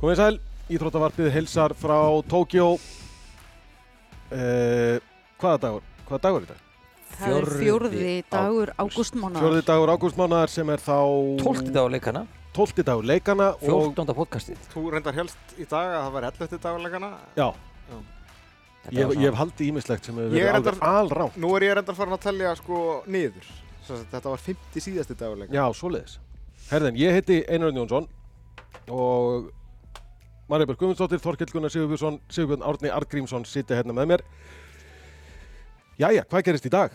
Komið sæl, Íþróttavarpið heilsar frá Tókjó uh, Hvaða dagur? Hvaða dagur er þetta? Það er Fjórði fjórði dagur Fjörði ágústmánaðar. dagur ágústmánaðar sem er þá 12. dag á leikana, 12. dagur leikana og 14. podcastið. Þú reyndar helst í dag að það var 11. dagleikana. Já, Þetta ég, var ég svona- hef haldið ímislegt sem hefur Ég verið er alveg alrá Nú er ég reyndar farin að tellja sko niður. Svo að Þetta var 50 síðasti dagleika. Já, svoleiðis Herðin, ég heiti Einar Örn Jónsson og Marja Björg Guðmundsdóttir, Þorkell Gunnar Sigurbjörnsson Sigurbjörn Árni Arngrímsson sitja hérna með mér Jæja, hvað gerist í dag?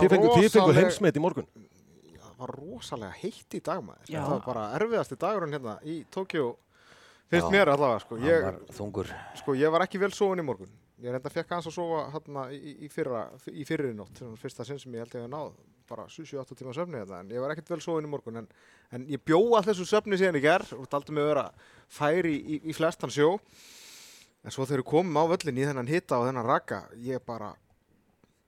Þið fengu, þið fengu heimsmet í morgun Það var rosalega heitt í dag maður. Já. Það var bara erfiðasti dagurinn hérna í Tókjó. Já. Finnst mér allavega sko. hann Ég, var þungur. sko. ég var ekki vel sóin í morgun. Ég reyndar fekk hans að sofa hérna í, í- í, fyrra, í fyrri nótt. svona Fyrsta sinn sem ég held ég að náð bara 7-8 tíma söfni þetta en ég var ekkert vel sóin í morgun en, en ég bjó að þessu söfni síðan í gerð og taldi mig að vera færi í, í flestan sjó En svo þegar við komum á völlin í þennan hita og þennan raka, ég bara,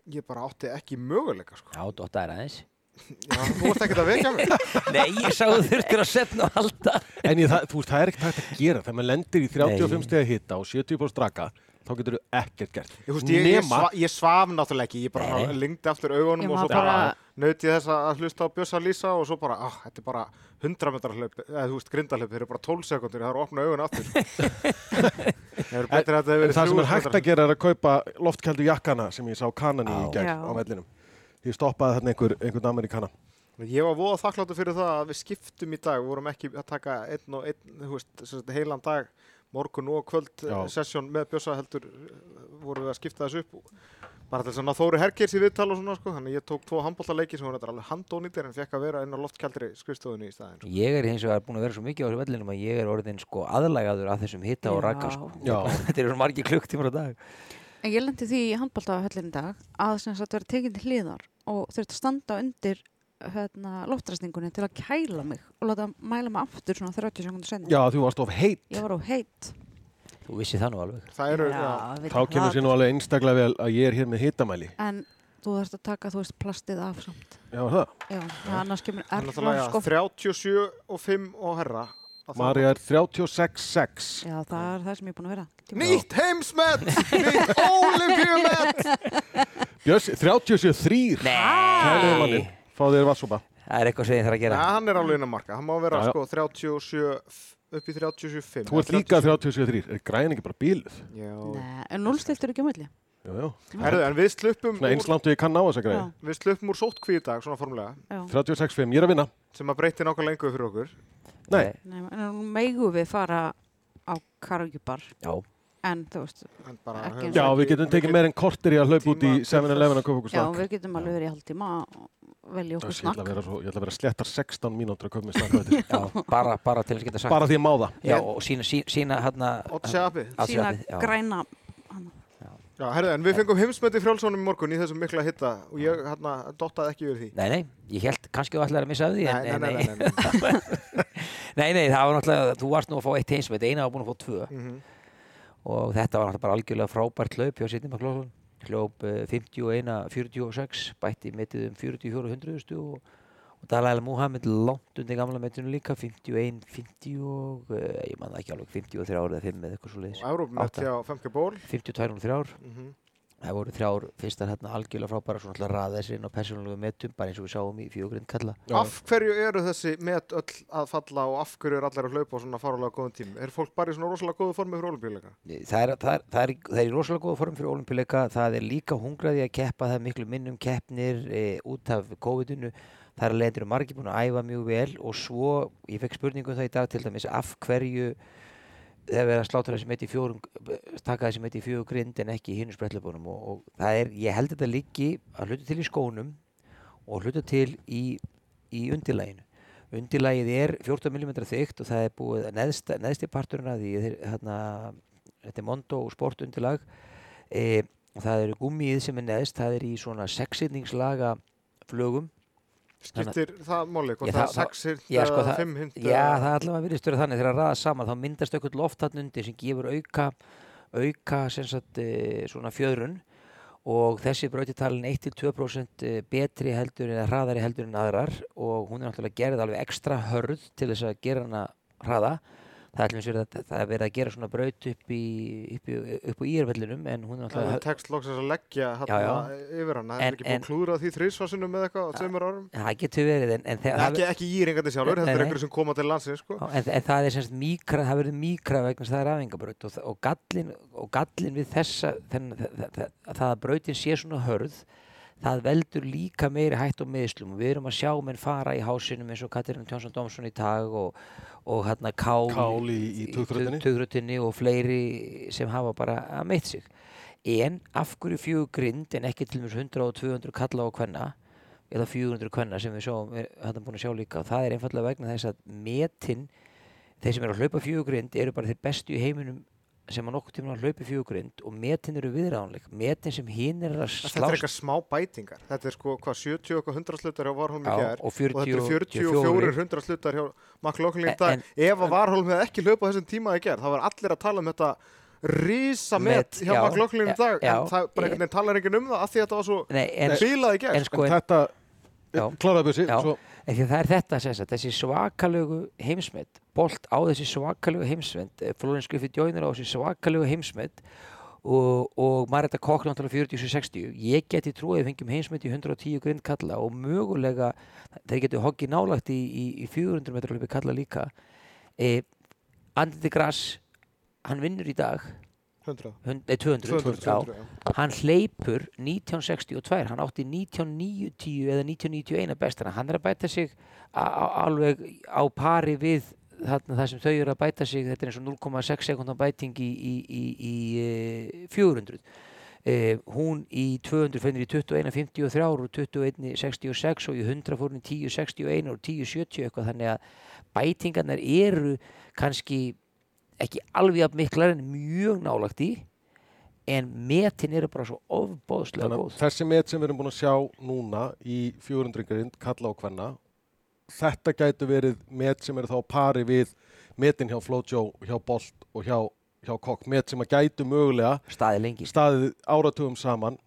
ég bara átti ekki möguleika, sko. Já, dotta er aðeins. Já, þú ert ekkert að vekja mig. Nei, ég sá þú þurftir að setna og halda. En ég, það, þú veist, það er ekkert hægt að gera þegar maður lendir í 35 Nei. stegi hitta og 70 bór straka þá getur þú ekkert gert Ég, húst, ég, ég, Nema, sva, ég svaf náttúrulega ekki, ég bara Nei. lengdi aftur Ég augunum og var svo bara, bara naut ég þess að hlusta á Bjössa Lísa og svo bara, ah, þetta er bara 100 metrar hlaup, eða þú veist, grindalhaup, þeir eru bara 12 sekundir, það eru að opna augun aftur. sko. Það eru betur að þetta hefur en verið það sem 300 er hægt metrar. að gera er að kaupa loftkældu jakkana sem ég sá kanan í Á. í gegn Já. á vellinum Ég stoppaði þarna einhver, einhvern Amerikana Ég var voða þakkláttu fyrir það að við skiptum í dag, við vorum ekki að taka einn og einn, þú veist, sem sagt, heilan dag, morgun og kvöld Já. Já. sesjón með Bjössa heldur eh, vorum við að skipta þessu upp og bara til þess að Þóri Hergeirs í viðtal og svona sko, þannig að ég tók tvo handbóltaleiki sem voru þetta alveg handónýtir en fekk að vera inn á loftkjaldri skrifstofunni í staðin. Sko. Ég er hins vegar búin að vera svo mikið á þessu vellinum að ég er orðin sko aðlagaður að þessum hitta og raka sko. Já. Þetta eru svo margir klukktímar á dag. en ég lendi því í handbalta á höllin í dag að sem sagt vera tekinn til hliðar og þurfti að standa undir hérna, loftræsningunni til að kæla mig og láta mæla mig aftur svona 30 sekundur senni. Já, þú varst of heitt Ég var á heit. Þú vissi það nú alveg. Það eru, já, við Þá kemur sér nú alveg einstaklega vel að ég er hér með hittamæli En þú þarfst að taka, þú veist, plastið af samt. Já, var það Já, annars kemur það er náttúrulega erfla, sko. 37 og 5 og herra. Að það- Marja er 36,6 Já, það er það sem ég er búin að vera. Nýtt heimsmet! Nýtt ólimpíumet! Björs, 37,3 Kæliði manni, Nei! fá þér vatsopa Það er eitthvað sem ég þarf að Já, gera. Ah, hann er á launamarka, hann má vera Já, já. sko 37, upp í 37, Þú ert líka 37,3 Er græn ekki bara bíluð? Já, Nei, en núlstilt eru ekki á milli. Já, já Herðu, en við sluppum Svona eins úr, langt og ég kann á þessa græði Já, við sluppum úr sótkví í dag, svona formulega, já. 36,5, ég er að vinna sem að breyti nákvæmlega lengur fyrir okkur. Nei, Nei, en nú megum við fara á karaokebar Já. en þú veist, En bara, Ekki höfum eins Já, ekki- við getum tekið meir en kortir í að hlaupa út í Tíma til 7-Eleven að kaupa okkur já, snakk. við getum alveg verið í hálftíma að velja Öss, Ég okkur ætla að snakk vera svo- ég ætla að vera slettar 16 mínútur að kaupa mér snakk á þetta. Já, bara, bara til að geta sagt. Bara því að má það. Já, og sína, sína, sína hérna... Oddsi Abi. sína aðsjáttið, já. græna Já, herðu, en við fengum heimsmeti frjálsónum í morgun í þessum mikla hitta og ég, hérna, dottaði ekki yfir því. Nei, nei, ég held kannski þú ætlaði að missa af því, en- en nei. nei, nei. Nei, nei, það var náttúrulega, þú varst nú að fá eitt heimsmet, eina var búin að fá tvö Mhm. og þetta var náttúrulega bara algjörlega frábært hlaup hjá Sidney McLaughlin. Hljóp eh, 51, 46, bætti metið um 44, 100 og, og Dalai Muhammad langt undir gamla metinu líka, 51, 50 og, eh, ég man það ekki alveg, 53 eða 5 eða eitthvað svo leiðis. Og Evrópumet Átta. hjá Femke Ból. 52 og 3 Mhm. Það voru þrjár fyrstar hérna algjörlega frábæra, svona alltaf raðið sér inn á persónulegu metum, bara eins og við sáum í fjögurinn kalla. Af hverju eru þessi met öll að falla og af hverju eru allir að hlaupa á svona farulega góðum tím? Er fólk bara í svona rosalega góðu formi fyrir olimpíuleika? Það er, það, er, það, er, það er í rosalega góða form fyrir olimpíuleika, það er líka hungraði að keppa, það er miklu minnum keppnir e, út af COVID-inu, það er leiðindur margir búin að æfa mjög vel og svo, ég fekk spurningu um það í dag til dæmis, af hverju þegar við erum að slátra þessi meti í fjórum, taka þessi meti í fjögur grind en ekki í hinu spretlubunum og, og það er, ég held þetta liggi að hluta til í skónum og hluta til í, í undirlæginu. Undirlægið er 14 mm þykkt og það er búið neðst, neðsti parturinn að því, þeir- hérna, þetta er Mondo og Sport undirlag e, og það eru gummið sem er neðst, það er í svona sexinningslaga flögum. Þannig- Skiptir það máli? Hvort Ég, það er það- það- sex hint Já, sko, eða það- fimm hint? Já, það er allavega virðist verið þannig þegar að raða saman, þá myndast eitthvað loft þarna undir sem gefur auka, auka sem sagt, e, svona fjöðrun og þessi brautitalin 1-2% eh, betri heldur en hraðari heldur en aðrar og hún er náttúrulega gerð alveg ekstra hörð til þess að gera hana hraða það er alveg verið að, það er verið að gera svona braut upp í, upp, í, upp á íðarvellinum en hún er Það alltaf, er tekst loksins að leggja Já, já. hérna yfir hana, það En- er ekki búið en- að klúðra því þrísvarsinum með eitthvað á tveimur árum. það getur verið en, en, Nei, þegar, Ekki, ekki íringarnir sjálfur, Nei, þetta er nei. einhverjum sem koma til landsins, sko. Já, En, en það er semst mýkra, það verður mýkra vegna þess að það er afingabraut og, þa- og, gallin, og gallin við þessa, þenn, það, það, það að brautin sé svona hörð, það veldur líka meiri hætt og meðslum og við erum að sjá menn fara í hásinum eins og Katarina Tjónsson Dómsson í dag og, og hérna Kál, Kál í- í tugþrautinni. tugþrautinni og fleiri sem hafa bara að meitt sig. En af hverju fjögur grind en ekki til mér 100 og 200 kalla á hvenna eða 400 kvenna sem við sjáum er hann búin að sjá líka og það er einfallega vegna þess að metin, þeir sem eru að hlaupa fjögurgrind eru bara þeir bestu í heiminum sem að nokkuð tíma að hlaupa fjögurgrind og metin eru viðránleik, metin sem hinn er að Þetta er slást eitthvað smá bætingar. Þetta er sko, hvað, 70 og eitthvað 100 sluttar hjá Varholm í Já, gær og og þetta eru 44 44 100 sluttar hjá McLaughlin í En- dag. Ef að Varholm hefði ekki hlaupað þessum tíma í gær, þá var allir að tala um þetta Met, risamett hjá já, McLaughlin í dag, já, en það bara einhvern veginn talar enginn um það af því að þetta var svo Nei, en, bílað í gær. en sko en en, þetta Já. kláraði bussi Já. svo, en því að það er þetta sem sagt, þessi svakalögu heimsmynd bolt á þessi svakalögu eh, heimsmynd Flórin skrifir djóinir á þessi svakalögu heimsmynd og, og Marita Kokk náttúrulega 40-60 ég geti trúið að fengjum heimsmynd í 110 grind kalla og mögulega þeir getur hoggið nálagt í, í, í 400 metra hlupi kalla líka e, Andriti Grass hann vinnur í dag 100. hund- eh, 200, 200 200, já, 200, já. hann hleypur 1962, hann átti 1990 eða 1991 bestana, hann er að bæta sig a- a- alveg á pari við þarna það sem þau eru að bæta sig, þetta er eins og 0,6 sekundan bæting í, í, í, í eh, 400. Eh, hún í 200 finnir í 21.53 og 21.66 og í 100 fór hún í 10.61 og 10.70 eitthvað þannig að bætingarnar eru kannski ekki alveg jafn miklar en mjög nálagt í en metin eru bara svo ofbóðslega þannig, að góð hérna, þessi met sem við erum búin að sjá núna í 400 grind kalla og hvenna þetta gætu verið met sem eru þá á pari við metin hjá Flojo, hjá Bolt og hjá, hjá Kokk, met sem að gætu mögulega staði lengi staðið áratugum saman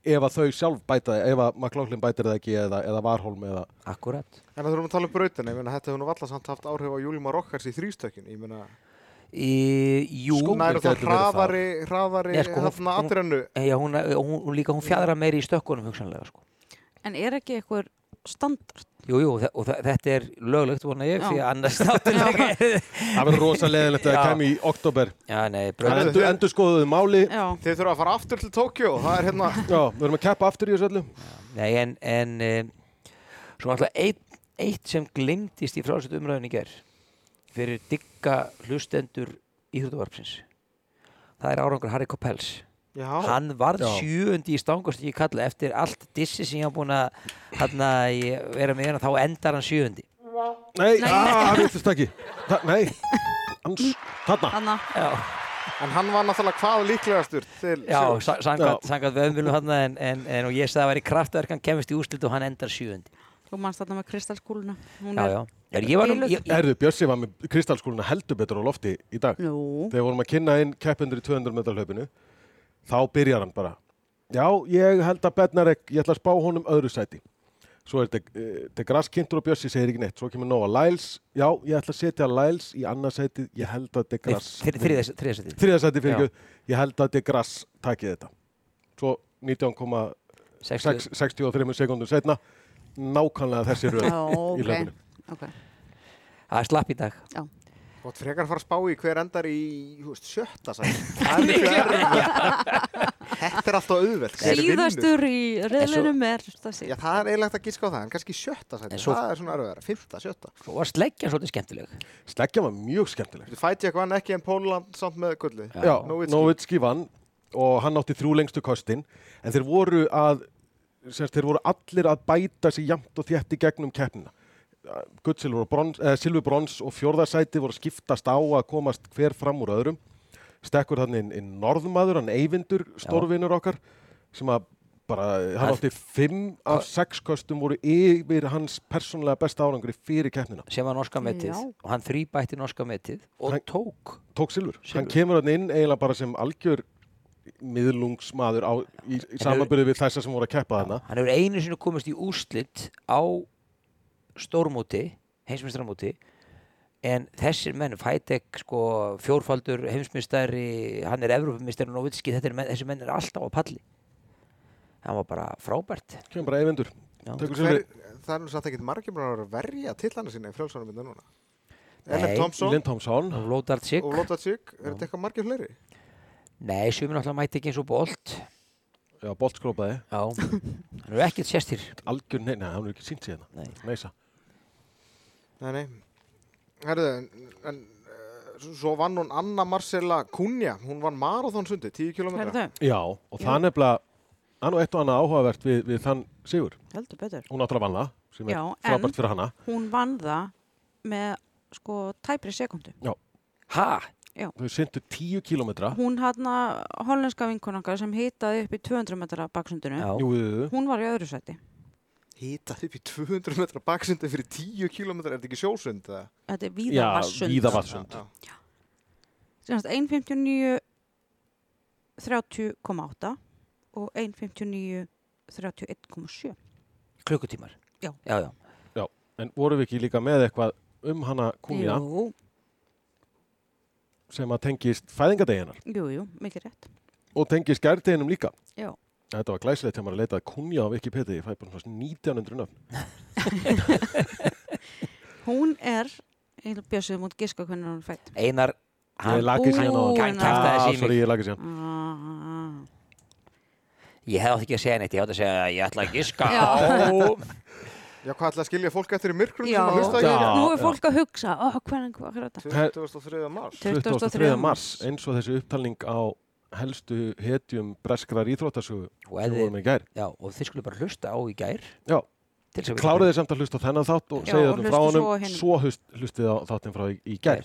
ef að þau sjálf bæta það, ef að McLaughlin bætir það ekki eða, eða Varholm eða akkurat En það þurfum að tala um brautina, ég meina þetta hefur nú valla samt haft áhrif á Júlíma Rokkars í þrýstökkin, ég meina sko, e, jú, Skó- nær gæti verið það hraðari, hraðari, Nei, sko, hún- hafna hún- atrennu e, já, hún, hún, hún líka hún fjadra meiri í stökkunum hugsanlega sko. En er ekki eitthvað standard? jú, jú, þe- og þe- þetta er löglegt vona ég, Já. því að annars náttúrulega það verður rosa leðilegt að Já. það kemur í oktober já, nei, en Herðu, bröðum endur, þið- endur skoðuðu máli já, Já, Þið þurfa að fara aftur til Tókjó, það er hérna við erum að keppa aftur í þessu öllu nei, en, en e, svo alltaf eitt, eitt sem glimtist í frálsötu umræðinu í ger fyrir digga hlustendur íþjóðuvarpsins það er árangur Harry Coppels Já, hann varð Já. sjöundi í stangastíki kalla eftir allt dissi sem ég hafa búin að hérna, ég- vera með hérna þá endar hann sjöundi nei, Nei. ah, hann veitist ekki Þa, nei, hans, þarna þannig að já, en hann var náttúrulega hvað líklegastur til já sigurs. sa- samkvæmt samkvæmt vöðmjölum hann en, en, en og ég sagði að það væri kraftverk hann kemist í úslit og hann endar sjöundi þú manst þarna með kristalskúluna. Hún já, er- já. Já, ég var, nú- Biluð. ég, ég, Erðu, Björsi var með kristalskúluna heldur betur á lofti í dag Nú, þegar vorum að kynna inn keppendur í 200 metra hlaupinu þá byrjar hann bara já, ég held að Bednarek, ég ætla að spá honum öðru sæti svo er eh, þetta graskindur og Bjössi segir ekki neitt svo kemur Nóa Læls, já, ég ætla að setja Læls í annað sæti, ég held að þetta gras þriðasætti þriða sæti fyrir ekki, ég held að þetta gras takið þetta svo 19,63 sekundum setna nákvæmlega þessi röð í já, ok. hlaupinu okay. það er slapp í dag Þú átt frekar að fara að spá í hver endar í, þú veist, sjötta sæti. Það er miklu erfið Þetta er alltaf auðvelt Hver vinnur? Síðastur í reðlinum er þessi. Já, það er eiginlega hægt að gíska á það, en kannski sjötta sæti En svo- Það er svona erfiðara, fymta, sjötta og var sleggjan svolítið skemmtileg sleggja var mjög skemmtileg Þú fæti eitthvað en ekki en Póland samt með gullið Já, Nowitzki. Novitski vann og hann átti þrjú lengstu kostin en þeir voru að semst, þeir voru allir að bæta sig jæmt og þétt í gegnum keppnina Guldsilfur og brons, eh, silfur, brons og fjórðasæti voru að skiptast á að komast hver fram úr öðrum stekkur hann inn, inn norðmaður, hann Eyvindur stórvinur okkar sem að bara, hann Það- átti fimm af sex kostum voru yfir hans persónlega besta árangri fyrir keppnina sem var norska metið Já. og hann þrýbætti norska metið og Hann- tók tók silfur. Hann Silfur. kemur hann inn eiginlega bara sem algjör miðlungsmaður á, í, í En samanbyrðu við þessa sem voru að keppa þarna. hann hefur einu sinni komist í úslit á stórmóti, heimsmyndstramóti en þessir menn, Fætek sko, fjórfaldur, heimsmystari hann er Evrópumistari og Novitski þetta er menn, þessi menn er alltaf á palli hann var bara frábært kemur bara eifendur Já. tökur Hver, sér það er nú satt ekkert margir búin að vera að verja tillana sína í frjálsvonarmynda núna. Nei, Ellen Thompson Lind Thompson og Lóðard Sig og Lotta Tsík, er þetta eitthvað margir fleiri? nei, sumir náttúrulega mæti ekki eins og Bolt já, Bolt skrópaði já, hann er ekkert sérstir algjör, nei, nei, hann er ekki hérna. sínt síðan Nei. neisa Nei, nei. Herðu, en, en eh, s- svo vann hún Anna Marcella Kunja, hún vann marathon sundi, 10 km. Herðu, já, og Já. það er nefnilega hann og eitt og annað áhugavert við, við þann Sigur heldur betur. hún áttur að vanna sem er Já, en- frábært fyrir hana Hún vann það með sko tæpri sekundu. ha, þau syndu 10 kílómetra Hún hana hollenska vinkonanga sem hitaði upp í 200 metra baksundinu. já, jú, jú, jú. Hún var í öðru sæti. Hýtað upp í 200 metra baksundi fyrir 10 km, er þetta ekki sjósund? eða? Þetta er Já, víðavassund. víðavass- Vatnsund. Já, já. Sérnast 1.59 30,8 og 1.59 31,7. klukkutímar Já. já, já. en vorum við ekki líka með eitthvað um hana kúnja Jú, sem að tengist fæðingadeginar jú, jú, mikið rétt. og tengist gærdeginum líka Já. þetta var glæsilegt þegar maður leitaði kúnja á Wikipedia ég fæði bara svona 1900 nöfn Hún er, ég held bjössið mútt giska hvernig hún er fætt. Einar, ég hann, lagði síðan á Ú, hann. hann kjaftaði Ah, sig í mig. sorry, ég lagði síðan Ah, ég hefði átt ekki að segja neitt, ég átt að segja að ég ætla að giska Já. á Já, hvað ætla að skilja fólk eftir í myrkrunum Já, sem að hlusta Já. hér? nú er fólk að hugsa, oh, hvernig, hvað er þetta? 23. mars. 23. mars mars. eins og þessi upptalning á helstu hetjum breskrar íþróttasögu og, sem ef við þið- vorum í gær. já, og þið skulle bara hlusta á í gær Já. til þess að við- Kláriði samt að hlusta á þennan þátt og Já, segja og þetta frá hlustið honum, svo á hinum. svo hlust, hlustið á þáttinn frá í, í gær.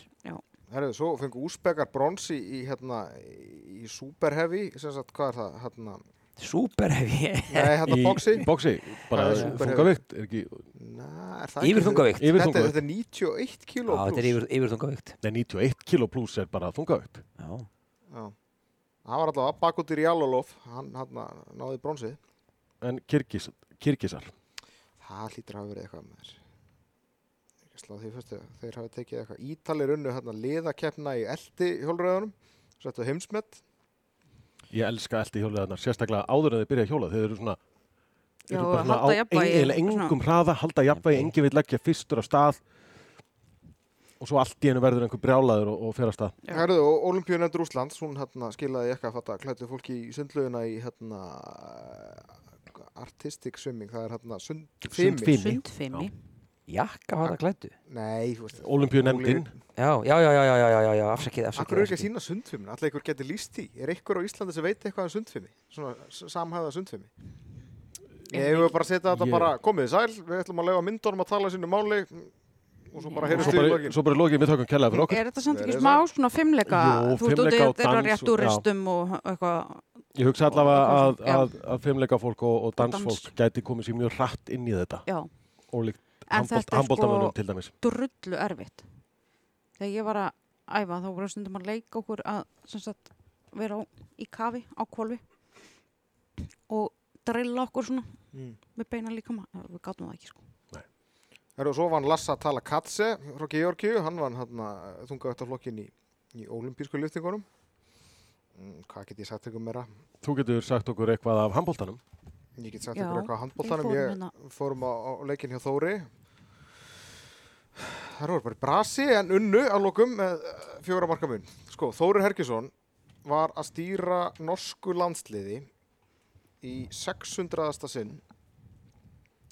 Herðu, svo fengu úspekar bronsi í, hérna, í superhefi, sem sagt, hvað er það, hérna, Súperhefi nei, hérna, boxi? Í boxi, bara Það er superhefð. þungavikt, er ekki, Næ, er það Yfir þungavíkt yfir Þetta, þungavikt. þetta er 91 Já, kíló þetta er plús. yfir, yfir þungavíkt Nei, 91 kilo pluss er bara þungavikt. Já, Já. Hann var allavega bakkútur í Jalolof, hann hérna, náði bronsið. En kirgis, kirgisar, Það hlýtur að hafa verið eitthvað með þess. Ég slá því fyrst að þeir hafi tekið eitthvað. Ítalir unnu hérna liðakeppna í eldi hjólröðunum, settu heimsmet. ég elska eldi hjóliðarnar, sérstaklega áður en þið byrja að hjóla, þeir eru svona, Já, eru og halda jafnvægi, eiginlega svona. engum hraða, halda jafnvægi, engin vil leggja fyrstur af stað og svo allt í einu verður einhver brjálaður og, og fer af stað. Já. Herðu, og Olimpíunendur Úslands, hún hérna skilaði eitthvað að fatta klættu fólki í sundlaugina í hérna artistic swimming, það er hérna sundfimi. Sundfimi. Sundfimi. jakka var það klættu Nei, þú veist, Olimpíu nefndin, Já, já, já, já, já, já, já, já, já, afsakið, afsakið akkur er ekki að afsakið. sína sundfimin, allir ykkur getur líst því. Er ykkur á Íslandi sem veit eitthvað um sundfimi? Svona s- samhæða sundfimi? Ég hefur bara að setja þetta Ég- bara, komið sæl, við ætlum að lega myndunum að tala sínu máli og svo bara Já. heyrjum svo við bara, í lokin. svo bara lokið við tökum kærlega fyrir okkur. Er þetta samt ekki Verið smá svona fimmleika? Jú, Þú ert úti, fimleika og þetta er dans rétt og- úr ristum og og eitthvað. Ég hugsa allavega Og- og- að, að, að fimmleika fólk og, og dans. dansfólk gæti komið sér mjög hratt inn í þetta Já, ólíkt en þetta er handbóltamönnum sko til dæmis. drullu erfitt. Þegar ég var að æfa þá voru stundum að leika okkur að sem sagt, vera á, í kafi á kvolfi og drilla okkur svona Mm. með beina líkama. Við gátum það ekki sko. Herru, og svo vann Lassa Tala Katse frá Georgiu, hann vann hann þungavættaflokkin í, í olimpísku lyftingunum. Mm, hvað get ég sagt ykkur meira? Þú getur sagt okkur eitthvað af handbóltanum. Ég get sagt Já, ykkur eitthvað á handbóltanum, við fórum ég hérna. fórum á, á leikin hjá Þóri. Það voru bara í brasi en unnu að lokum með eh, fjögurra marka mun. Sko, Þóri Herkjusson var að stýra norsku landsliði í 600. sinn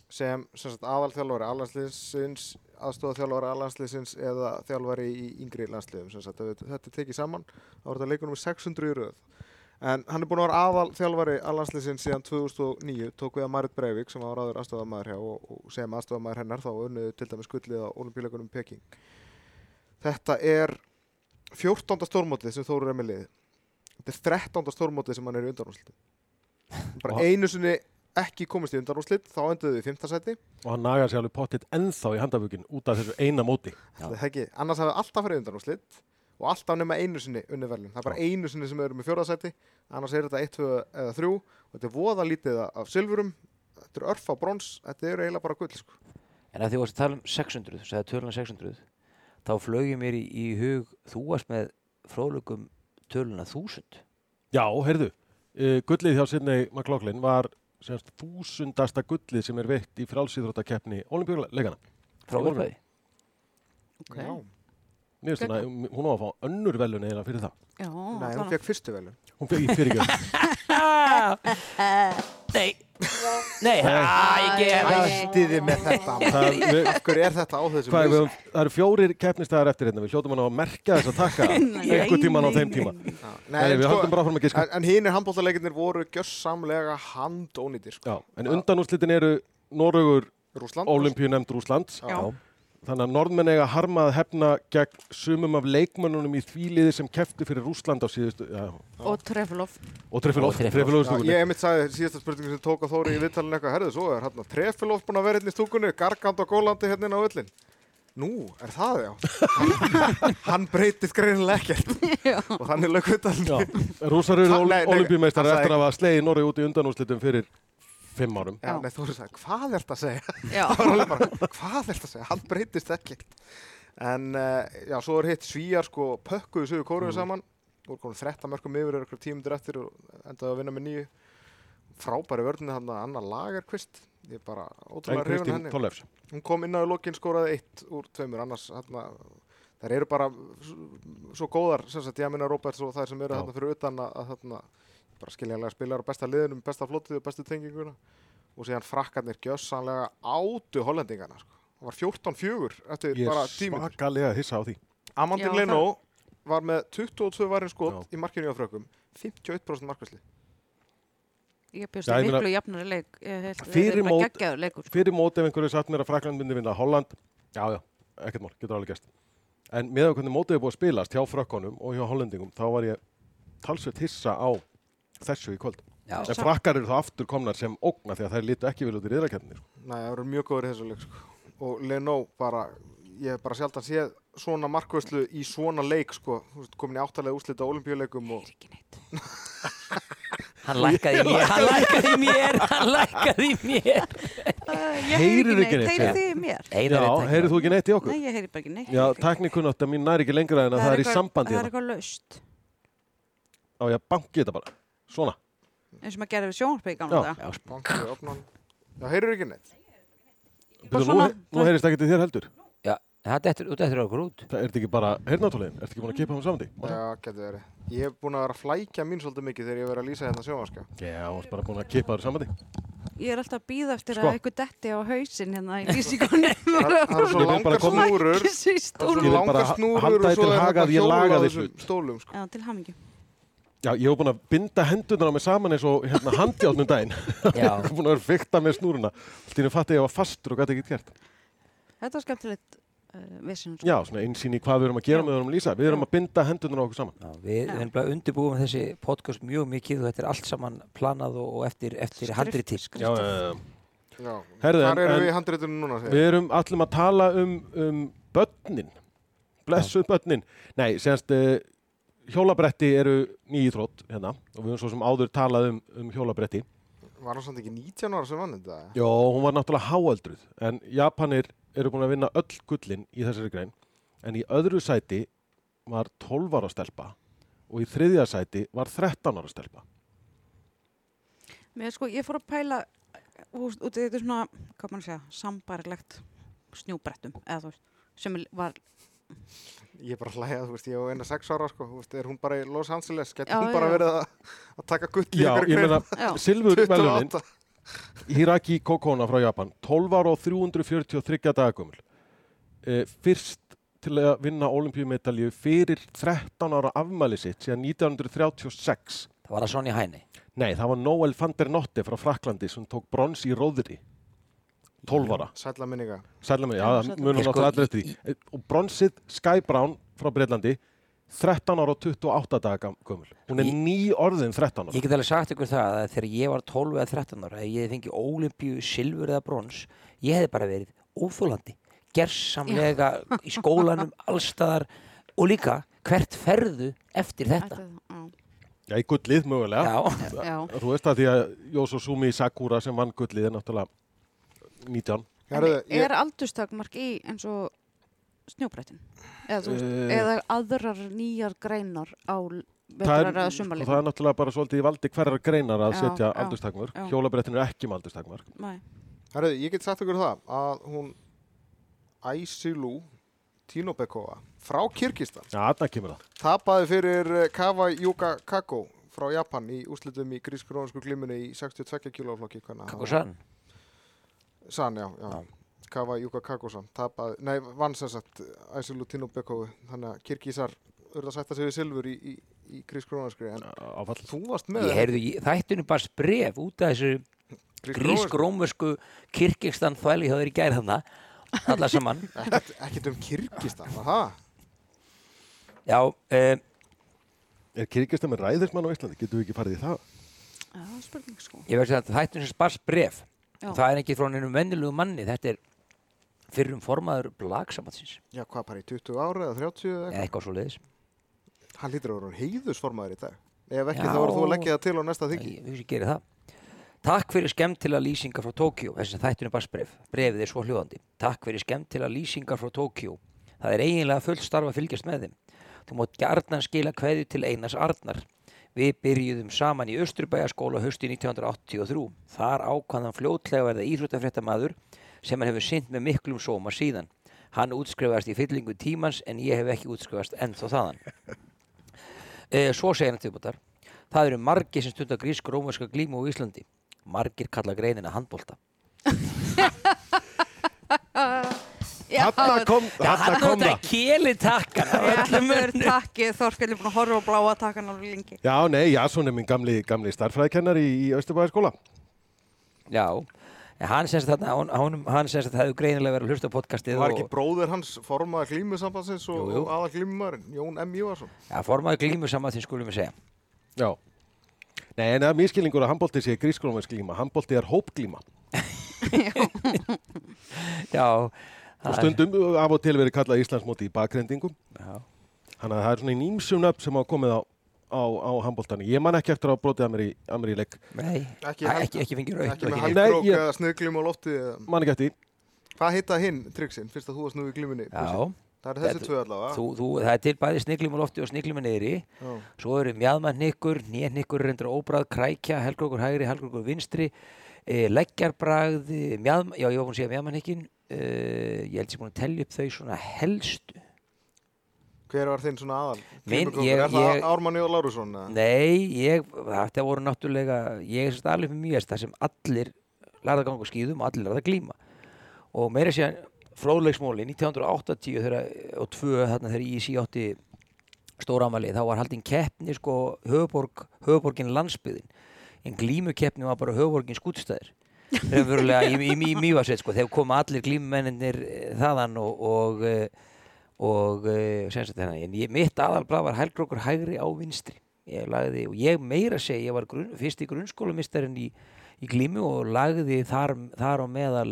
sem, sem sagt, aðalþjálfari allandsliðsins, aðstofaþjálfari allandsliðsins eða þjálfari í yngri landsliðum. sem Sagt, ef þetta er tekið saman, þá var þetta leikunum með 600 í röð. En hann er búinn að vera aðal þjálfari allanslýsins síðan 2009, tók við að Marit Breivik sem var áður aðstofamæður hjá og, og sem aðstofamæður hennar þá unniðu til dæmis gullið á olimpíuleikunum í Peking. Þetta er 14. stórmótið sem Þóru er með liðið. Þetta er 13. stórmótið sem hann er í undanúrslit. Bara Og- einu sinni ekki komist í undanúrslit, þá enduðu við í 5. seti. Og hann nagar sér alveg pottitt ennþá í handafökin út af þessu eina móti. Já. Það er ekki, annars hafði alltaf farið undanúrslit og alltaf nema einu sinni unni velin. Það er bara einu sinni sem við erum í fjórðasæti, annars er þetta 1, 2 eða 3 og þetta er voða lítið af silfurum, þetta er örf á brons, þetta er eiginlega bara gull. Sko. En að því varst að tala um 600, þú sagði tölunar 600 þá flög ég mér í, í hug þú varst með fróðlögum töluna þúsund Já, heyrðu, uh, gullið hjá Sidney McLaughlin var semst þúsundasta gullið sem er veitt í frálsýþróttakeppni olimpíuleikana. frá Í morgun. upphafi. ok. Já. Mér finnst svona, hún á að fá önnur velun eiginlega fyrir það. Já, Nei, hún fekk fyrstu velun. Hún fyrir fyrir ekki. Nei Nei, ah, ég gef það Æ. Ættiði með þetta. maður. Það, við, Af hverju er þetta á þessum hvað, er lista? við, það eru fjórir keppnistæðar eftir hérna. Við hljótum hann á að merkja þess að taka einhver tíman á þeim tíma. Já. Nei, Nei, en við sko- höldum bara áfram að giska. En, en hinn er handbóltaleikinir voru gjössamlega handónýtir sko. Já, en undanúslitin eru Norrugur Rúsland olimpíu nefnd Rúslands. Já. Þannig að norðmenn eiga harma að hefna gegn sumum af leikmönnunum í þvíliði sem keftu fyrir Rúsland á síðustu, já, og Treflof og Trefilov, Og Trefilov. Trefilov í Já, stúkunni. ég einmitt sagði síðasta spurningu sem tók að Þóri í viðtalinu eitthvað, herðu, svo er hérna Trefilov búin að vera hérna í stúkunni, Gargand og Gólandi hérna inn á öllin. Nú, er það já? Hann breytist greinilega ekkert. og þannig lög Já, viðtalinu. rússar eru Þa- nei, nei, olimpíumeistar það sagði eftir að hafa slegið Norri út í undanúslitum fyrir fimm árum. Já, Já. nei, Þóri sagði, hvað er þetta að segja? Já, Það var alveg bara, hvað er þetta að segja? Hann breytist ekkert. En uh, já, svo er hitt svíjar sko pökkuðu sögur kóruðu saman. Þú voru komin 13 mörgum yfir, eru ykkur tímundir eftir og endaði að vinna með nýju. Frábæri vörðinni hann að Anna Lagerqvist. Ég er bara En ótrúlega hrifin Kristín henni. Tollefs. Hún kom inn á í lokin, skoraði eitt úr tveimur, annars hann Þær eru bara s- svo góðar, sem sagt, ég minna Róberts og þær sem eru Já. þarna fyrir utan að, að þarna bara skiljanlega spilar á besta liðinum, besta flotið og bestu tenginguna og síðan frakkarnir gjössanlega átu hollendingana sko. Það var 14-4 eftir Ég bara er tímur. svakalega hissa á því. Amandin Já, Leno var með 22 varin skot í markinu á frökkum, 51% markvæsli. ég bjóst Já, í ég meina- miklu jafnari leik Ég held að Fyrir þetta er bara mót- geggjaður leikur sko. Fyrir móti ef einhverju satt mér að Frakland myndi vinna Holland, já, já, ekkert mál, getur alveg gæst. En með hvernig mótið er búið að spilast hjá Frökkonum og hjá Hollendingum, þá var ég talsveit hissa á þessu í kvöld. Já. En frakkar eru þá aftur komnar sem ógna því að þær lítu ekki vel út í riðrakefninni. Sko. Nei, það voru mjög góður í þessu leik sko. og Leno bara ég hef bara sjaldan séð svona markvæslu í svona leik sko, Þú veist, komin í áttalega úslita á olimpíuleikum og Ekki neitt. Hann lækkaði í mér, hann lækkaði í mér, hann lækkaði í mér Eh, Ég Heyrir heyri ekki neitt, Heyrir já. þið í mér? Já, heyrið þú ekki neitt í okkur? Nei, ég heyri bara ekki neitt Já, teknikunnáttan mín næri ekki lengra en að það, er í eitthvað- sambandi. Það er hérna. eitthvað laust Á ég að banki þetta bara. Svona. eins og maður gerði við sjónvarpið í gamla Já. dag bankið opnan Já, heyrður ekki neitt? Bíddu, Nú, svona. nú heyrist ekki til þér heldur. Já, það dettur, þú dettur okkur út Það ert ekki bara heyrnáttúrlegin, ert ekki búin að um kipa hún saman því? Já, getur verið. Ég hef búin að vera að flækja mín svolítið mikið þegar ég hef verið að lýsa hérna sjónvarska. Já, hún er bara búin að um kipa þér saman því. Ég er alltaf að býða eftir Sko. að eitthvað detti á hausinn hérna í lýsingunni Það það eru svo Ég vil bara langar koma- snúrur, Ekki svo í Ég vil það eru svo stólum bara langar ha- snúrur halda og því svo til er haga hægt að að ég hjóla á laga þig þessum hlut. stólum. Sko. Já, til hamingju Já, ég hef búin að binda hendurnar á mig saman eins og hérna handjátnum daginn. Já, Ég hef búin að vera fykta með snúruna. Allt í hennu fatti ég að ég var fastur og gæti ekki gert. Þetta var skemmtilegt uh, vissin Já, svona einsýn í hvað við erum að gera með við erum að lýsa. Við erum að binda hendurnar á okkur saman. já við erum bara undirbúum þessi podcast mjög mikið og þetta er allt saman planað og, og eftir, eftir handriti Já, já, Já. Heyrðu, Hvar en- eru en- við í handritunum núna? Við erum allum að tala um, um börnin, blessuð börnin. Nei, semst, uh, hjólabretti eru nýjithrótt hérna og við höfum svo sem áður talað um, um hjólabretti. Við... Var hann samt ekki 19 ára sem vann þetta? Jó, hún var náttúrulega háaldruð, en Japanir eru búin að vinna öll gullin í þessari grein, en í öðru sæti var 12 ára stelpa og í þriðja sæti var 13 ára stelpa. Mér sko, ég fór að pæla uh, úst, út í þetta er svona, hvað maður að segja, sambarlegt snjúbrettum eða þú veist, sem er- var Ég er bara að hlæja, þú veist, ég á eina 6 ára, sko. Þú veist, er hún bara í Los Angeles? Getur Já, hún bara já. verið að, að taka gull í Já, einhverju ég meina, Já. silfurvelunin 28? Hiraki Kokona frá Japan 12 ára og 343 dagagumul e, fyrst til að vinna olimpíumetalju fyrir 13 ára afmæli sitt síðan 1936 Það var að Sonja Hæni Nei, það var Noel van der Notte frá Fraklandi sem tók brons í róðri 12 ára Sætla minninga. Sælla mig, já, sælla mig. munum Sko, náttúrulega allir eftir því E, og bronsið Sky Brown frá Breitlandi 13 ára og 28 dagagumul Hún er Í- ný orðin 13 ára Ég get alveg sagt ykkur það að þegar ég var 12 eða 13 ára ef ég hefði fengið ólimpíu, silfur eða brons ég hefði bara verið óþólandi gersamlega í skólanum allstaðar og líka hvert ferðu eftir þetta Ætli- já, Já, í gullið mögulega Já, já, Þú veist það því að Jósosumi Sakura sem vann gullið er náttúrulega 19. En Herðu, ég- er aldurstakmark í eins og snjóbrettin? Eða, þú veist, Eh, eða aðrar nýjar greinar á l- það, er, vetrar eða og það sumarleikum? er náttúrulega bara svolítið í valdi hverjar greinar að Já, setja já, aldurstakmörk. já. Hjólabrettin er ekki um með aldurstakmörk. Nei. Herruði, ég get sagt ykkur það að hún Æsilú Tínobekova frá Kyrkistan Já, þarna kemur það. tapaði fyrir eh, Kawa Yuka Kako frá Japan í úslitum í grísk-rónsku glimunni í 62 kiloflokki Kakosan San, já, já. Já. Kawa Yuka Kakosan tapaði, nei, vann sem sagt Æsilú Tínobekovu, þannig að Kyrkisar urða að sætta sig við silfur í, í, í grísk-rónskri, en Áfall. þú varst með Ég heyrðu, ég- þættunum bara bref út af þessu grísk-rónsku grísk-rómversku kirkingstan þvæli hjá þeir í gær þarna alla saman ekkert um Kyrkistan, var það? já, um, Er kirkistar með ræðismann á Íslandi? Getum við ekki farið í það? Já, spurning sko. ég veist að þættunum spars bref Já. það er ekki frá neinum vennilegu manni þetta er fyrrum formaður blagsambatsins Já, hvað, bara í 20 ára eða 30 eða eða eitthvað svo leiðis Hann lítur að vera heiðusformaður í dag. Ef ekki Já. þá voru þú að leggja það til á næsta þykki. ég hugsi að gera það Takk fyrir skemmtilega lýsingar frá Tókjó þessi þættunum barsbref, brefið er svo hljóðandi Takk fyrir skemmtilega lýsingar frá Tókjó Það er eiginlega fullt starf að fylgjast með þeim Þú mátt gjarnan skila kveðju til Einars Arnar Við byrjuðum saman í Östurbæjaskóla hösti 1983 Þar ákvaðan fljótlega að verða íþróttafréttamaður sem hann hefur sinnt með miklum sóma síðan Hann útskrifast í fyllingu tímans en ég hef ekki útskrifast ennþá þaðan E, svo segir hann tilbútar. Það eru margir sem stundar grísk rómverska glímu á Íslandi. Margir kalla greinina handbólta. Já, Þarna kom, þarna kom það. keli takkan af öllum Þetta er munum. takkið, Þorkell er búin að horfa á bláa takkan alveg lengi. Já, nei, já, svona er minn gamli, gamli starfræðikennar í, í Östubæðaskóla. Já, en hann semst þarna, hon- honum, hann semst að það hefur greinilega verið að hlusta á podcastið Var ekki og bróðir hans formaður glímusambansins og, Jú, jú. og aða glímumarinn, Jón M. Jóvarsson? ja, formaði glímu saman til skulum við segja. Já. Nei, en það er mískilningur að handbólti sé grískrómins glíma. Handbólti er hópglíma. Já, Og það er- stundum uh, af og til verið kallað Íslandsmóti í bakrendingum. Já. Þannig að það er svona í nýmsum nöfn sem hafa komið á, á, á handbóltani. Ég man ekki eftir að hafa brotið að mér í, að mér í leik. Nei, Ekki ekki, heldur. ekki, ekki fengið raukt. og Ekki neitt. með ekki- Nei, halvkrók ég- eða snuðglím á lofti. eða- Man ekki eftir. því. Hvað hitta hinn triksin fyrst að þú varst nú í glímunni? Já, Það eru þessi Þetta- tvö allavega. þú, þú, það er til bæði sniglum á lofti og um sniglum niðri. Já. Svo eru mjadmannykkur, nénykkur, reyndra óbræð, krækja, helgrókur hægri, helgrókur vinstri, e, leggjarbragð, mjadm, já ég var búin að segja mjadmannykkin, e, ég held sem búin að tellja upp þau svona helstu. Hver var þinn svona aðal? Minn- glímukóngur? ég- Er ég- það Ármann Jó Lárusson? eða? Nei, ég, þetta voru náttúrulega, ég er sérst alveg fyrir mjög það sem allir lærða að ganga á skýðum og allir lærða að glíma. Og meira sér fróðleiksmóli 1980 þegar, og 2 þarna þegar ISI átti stóramali, þá var haldin keppni sko höfuborg, höfuborgin landsbyðin. En glímukeppni var bara höfuborgin skútstæðir. Raunverulega í, í, í mývasveit sko, þegar koma allir glímumennir þaðan og, og, eh, og eh, sem sagt hérna, en ég, mitt aðalblað var helgrókur hægri á vinstri ég lagði, og ég meira segi ég var grun, fyrsti grunnskólamistærin í, í glímu og lagði þar, þar á meðal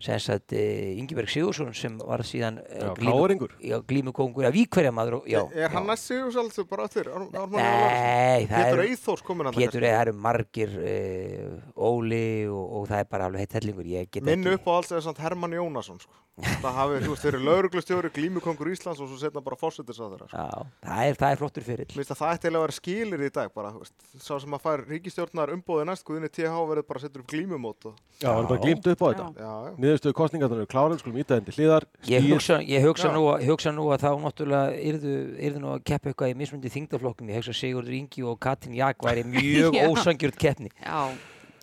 sem sagt e, Ingeberg Sigursson sem var síðan eh, Já, glímu- KR-ingur. já, glímukóngur, já, víkverja maður já, Er hann já. næst sigur svolítið bara eftir? Ár- Ármann Jó Lárusson? Nei, það Pétur eru- Eithors komin hann Pétur, eh, það eru margir uh, Óli og, og það er bara alveg heitt hellingur, ég get Minn ekki upp á alls eða samt Hermann Jónasson sko. Það hafi, þú veist, þeir eru lauruglustjóri, glímukongur Íslands og svo setna bara fórsetis að þeirra sko. Já, það er, það er flottur fyrir Mér finnst að það ætti eiginlega að vera skilir í dag bara, þú veist, sá sem að fær ríkistjórnar umbóði næst Guðinni TH verður bara að setja upp glímumót og, Já, hann bara Já. glímt upp á þetta. Já. já, já. Niðurstöðu kostningarnar eru klárar, við skulum íta þeim til hliðar. Ég Stigið- hugsa, ég hugsa, Já. nú, að- hugsa nú að þá náttúrulega yrðu, yrðu nú að keppa eitthvað í mismundi þingdaflokkum, ég hugsa að Sigurður Ingi og Katrin Jak væri mjög Já. ósangjörð keppni Já,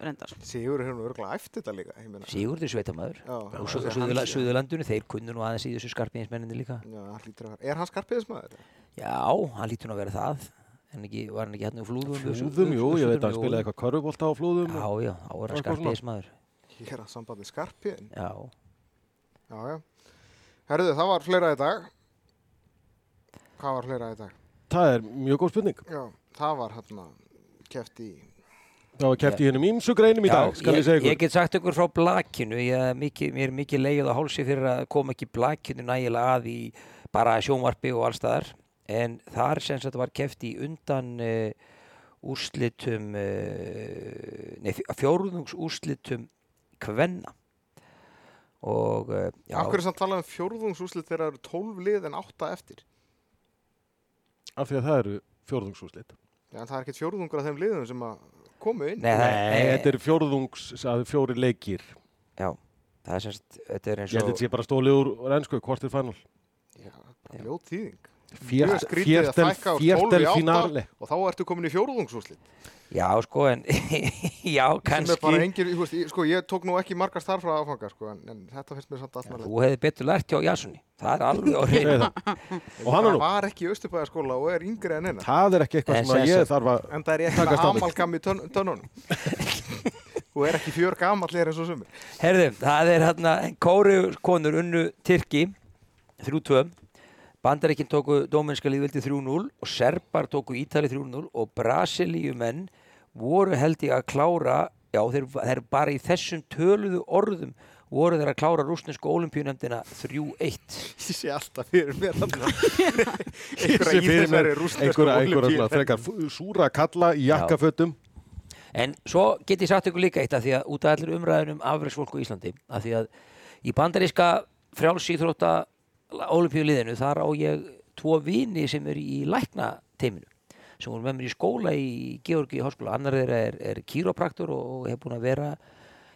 reyndar. Sigur hefur nú örgulega æft þetta líka ég meina. Sigurður er sveitamæður Já, og svo þessi Suðurla- hans- Suðurlandinu, þeir kunnu nú aðeins í þessu skarpiðinsmenninni líka Já, hann hlýtur að vera. Er hann skarpiðismæður? Já, hann lítur nú að vera það en ekki, var hann ekki hérna úr flúðum Flúðum, jú, ég veit að hann spilaði eitthvað körfubólta á flúðum. Já, og- já, þá er hann Eitthvað svona. skarpiðismæður Ég er að sambandi skarpiðin Já, Já, já Herðu, það var fleira í dag Hvað var fleira í dag? Það er mjög góð spurning. Já, það var hérna keft í Það var kæft í hennum ímsu greinum í dag, skal ég segja Ég ykkur. get sagt ykkur frá blakinu, ég, er mikið, mér er mikið leið á hálsi fyrir að koma ekki blakinu nægilega að í bara sjónvarpi og allstaðar. En þar sem þetta var keft í undan uh, úrslitum, eh, uh, nei fjórðungs úrslitum kvenna. og uh, já, Af hverju er samt talað um fjórðungsúslit þegar það eru 12 lið en 8 eftir? af því að það eru fjórðungsúslit. Já, en það er ekkert fjórðungur af þeim liðum sem að komu inn. Nei, það, Nei, þetta er fjórðungs, það er fjóri leikir. já, það er semst, þetta er Ég eins held og að þetta sé bara stólið úr úr ensku, hvort er final? Já, bara Já. ljót þýðing. Mjög Fjert- skrítið að Fjertel fækka úr 12 í fjertel 8. finale. Og þá ertu komin í fjórðungsúslit. já, sko, en já, Sem er bara kannski engir, þú veist, ég- sko, ég tók nú ekki margar starfra áfanga, sko, en, en þetta finnst mér samt allmælega. þú hefði betur lært hjá Jasoni það er alveg á Segðu hreinu það. Og hann er nú. var ekki í Östubæðaskóla og er yngri en eina. Það er ekki eitthvað En sem að sem ég sagt- þarf að En það er ég Takast ekki á við. amalgam í tönn, tönnunum. Þú er ekki fjör gamallir eins og sumir. Herðu, það er hérna Kóru konur unnu Tyrki 3-2 Bandaríkinn tóku Dóminska líðveldi 3-0 og Serbar tóku Ítali 3-0 og Brasilíumenn voru held ég að klára já, þeir, þeir bara í þessum töluðu orðum voru þeir að klára rúsnesku olimpíunefndina 3-1 Ég sé alltaf fyrir mér þarna. sé Einhverja í fyrir mér þessari rústnesku einhverja, einhverja svona ólympíu. frekar fú- súra kalla í jakkafötum En svo get ég sagt ykkur líka eitt af því að út af allir umræðunum afreksfólk á Íslandi af því að í bandaríska frjálsýþrótta olimpíuliðinu þar á ég tvo vini sem eru í lækna teiminu sem voru með mér í skóla í Georgi í háskóla annar þeirra er, er kýrópraktur og hefur búin að vera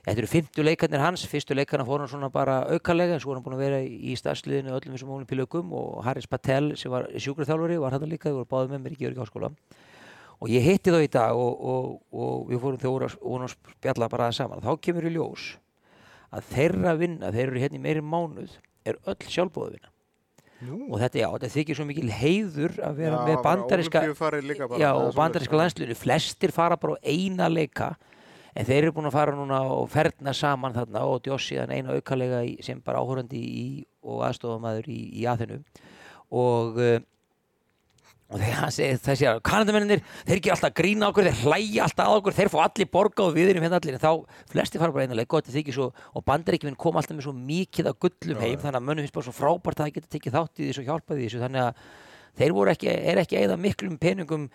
Þetta eru 50 leikarnir hans, fyrstu leikarna fór hann svona bara aukalega en svo var hann búin að vera í starfsliðinu öllum þessum olimpíuleikum og Haris Patel sem var sjúkraþjálfari var hann líka, þau voru báðið með mér í Georgi háskóla og ég hitti þá í dag og, og, og við fórum þau voru að- vorum að spjalla bara aðeins saman þá kemur í ljós að þeirra vinna, þeir eru hérna í meiri mánuð er öll sjálfbóðvinna Nú, og þetta, já, þetta þykir svo mikil heiður að vera Já, með bara bandaríska Ólympíufarið líka bara, já, eða og svoleiðis, bandaríska já. landslunni flestir fara bara á eina leika en þeir eru búin að fara núna og ferna saman þarna og djósiðan eina aukalega í- sem bara áhorandi í og aðstofamæður í, í aðinu og eh, og þegar hann segir þessi að kanadamennir þeir ekki alltaf að grína okkur, þeir hlæja alltaf að okkur þeir fá allir borga og við erum hérna allir en þá flesti fara bara einanlega, gott þykir svo og bandaríkjuminn kom alltaf með svo mikið að gullum heim þannig að mönnum finnst bara svo frábært að það geta tekið þátt í þessu og hjálpaði þessu þannig að þeir voru ekki, er ekki eða miklum peningum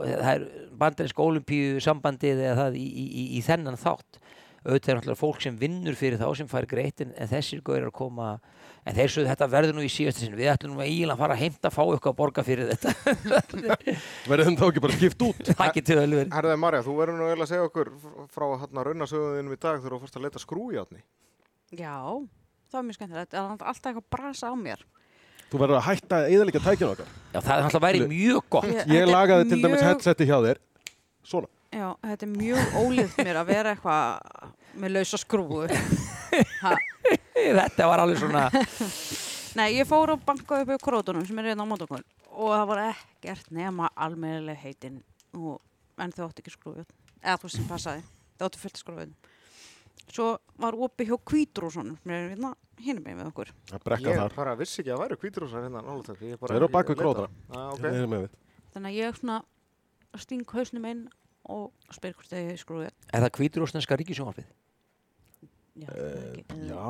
bandarísk olimpíu sambandið eða það í, í, í, í þennan þátt auðvitað er náttúrulega fólk sem vinnur fyrir þá sem fær greitt en, en þessir gauðir að koma en þeir sögðu þetta verður nú í síðasta sinn við ætlum nú að ílan fara að heimta að fá eitthvað að borga fyrir þetta verður þeim þá ekki bara skipt út það getur vel verið Herðið Marja, þú verður nú eiginlega að segja okkur frá hérna raunasögðunum í dag þegar þú fórst að leita skrújátni. Já, það var mjög skemmtilegt. Það er alltaf eitthvað brasa á mér. þú verður að hætta eðalega tækinu okkar já, það er náttúrulega væri mjög gott Ég- ég þetta er lagaði til dæmis mjög- headseti hjá þér svona, Já, þetta er mjög ólíft mér að vera eitthvað með lausa skrúu. Ha, þetta var alveg svona Nei, ég fór og bankaði upp í krótunum sem er reyna á mótokon og það var ekkert nema almennileg heitin og, en þau átti ekki skrúfið eða þú veist sem passaði, þau átti fullt skrúfið Svo var opið hjá Kvítrússonum sem er hérna hinum megin við okkur að brekka Ég þar bara vissi ekki að það væru hvítrúsar hérna nálega takk. Þeir eru á bak við krótana. Já, Þeir eru með við. þannig að ég svona sting hausnum inn og spyr hvort þau skrúfið er það hvítur ósnenska ríkisjónvarpið Já, Eh, ekki. já,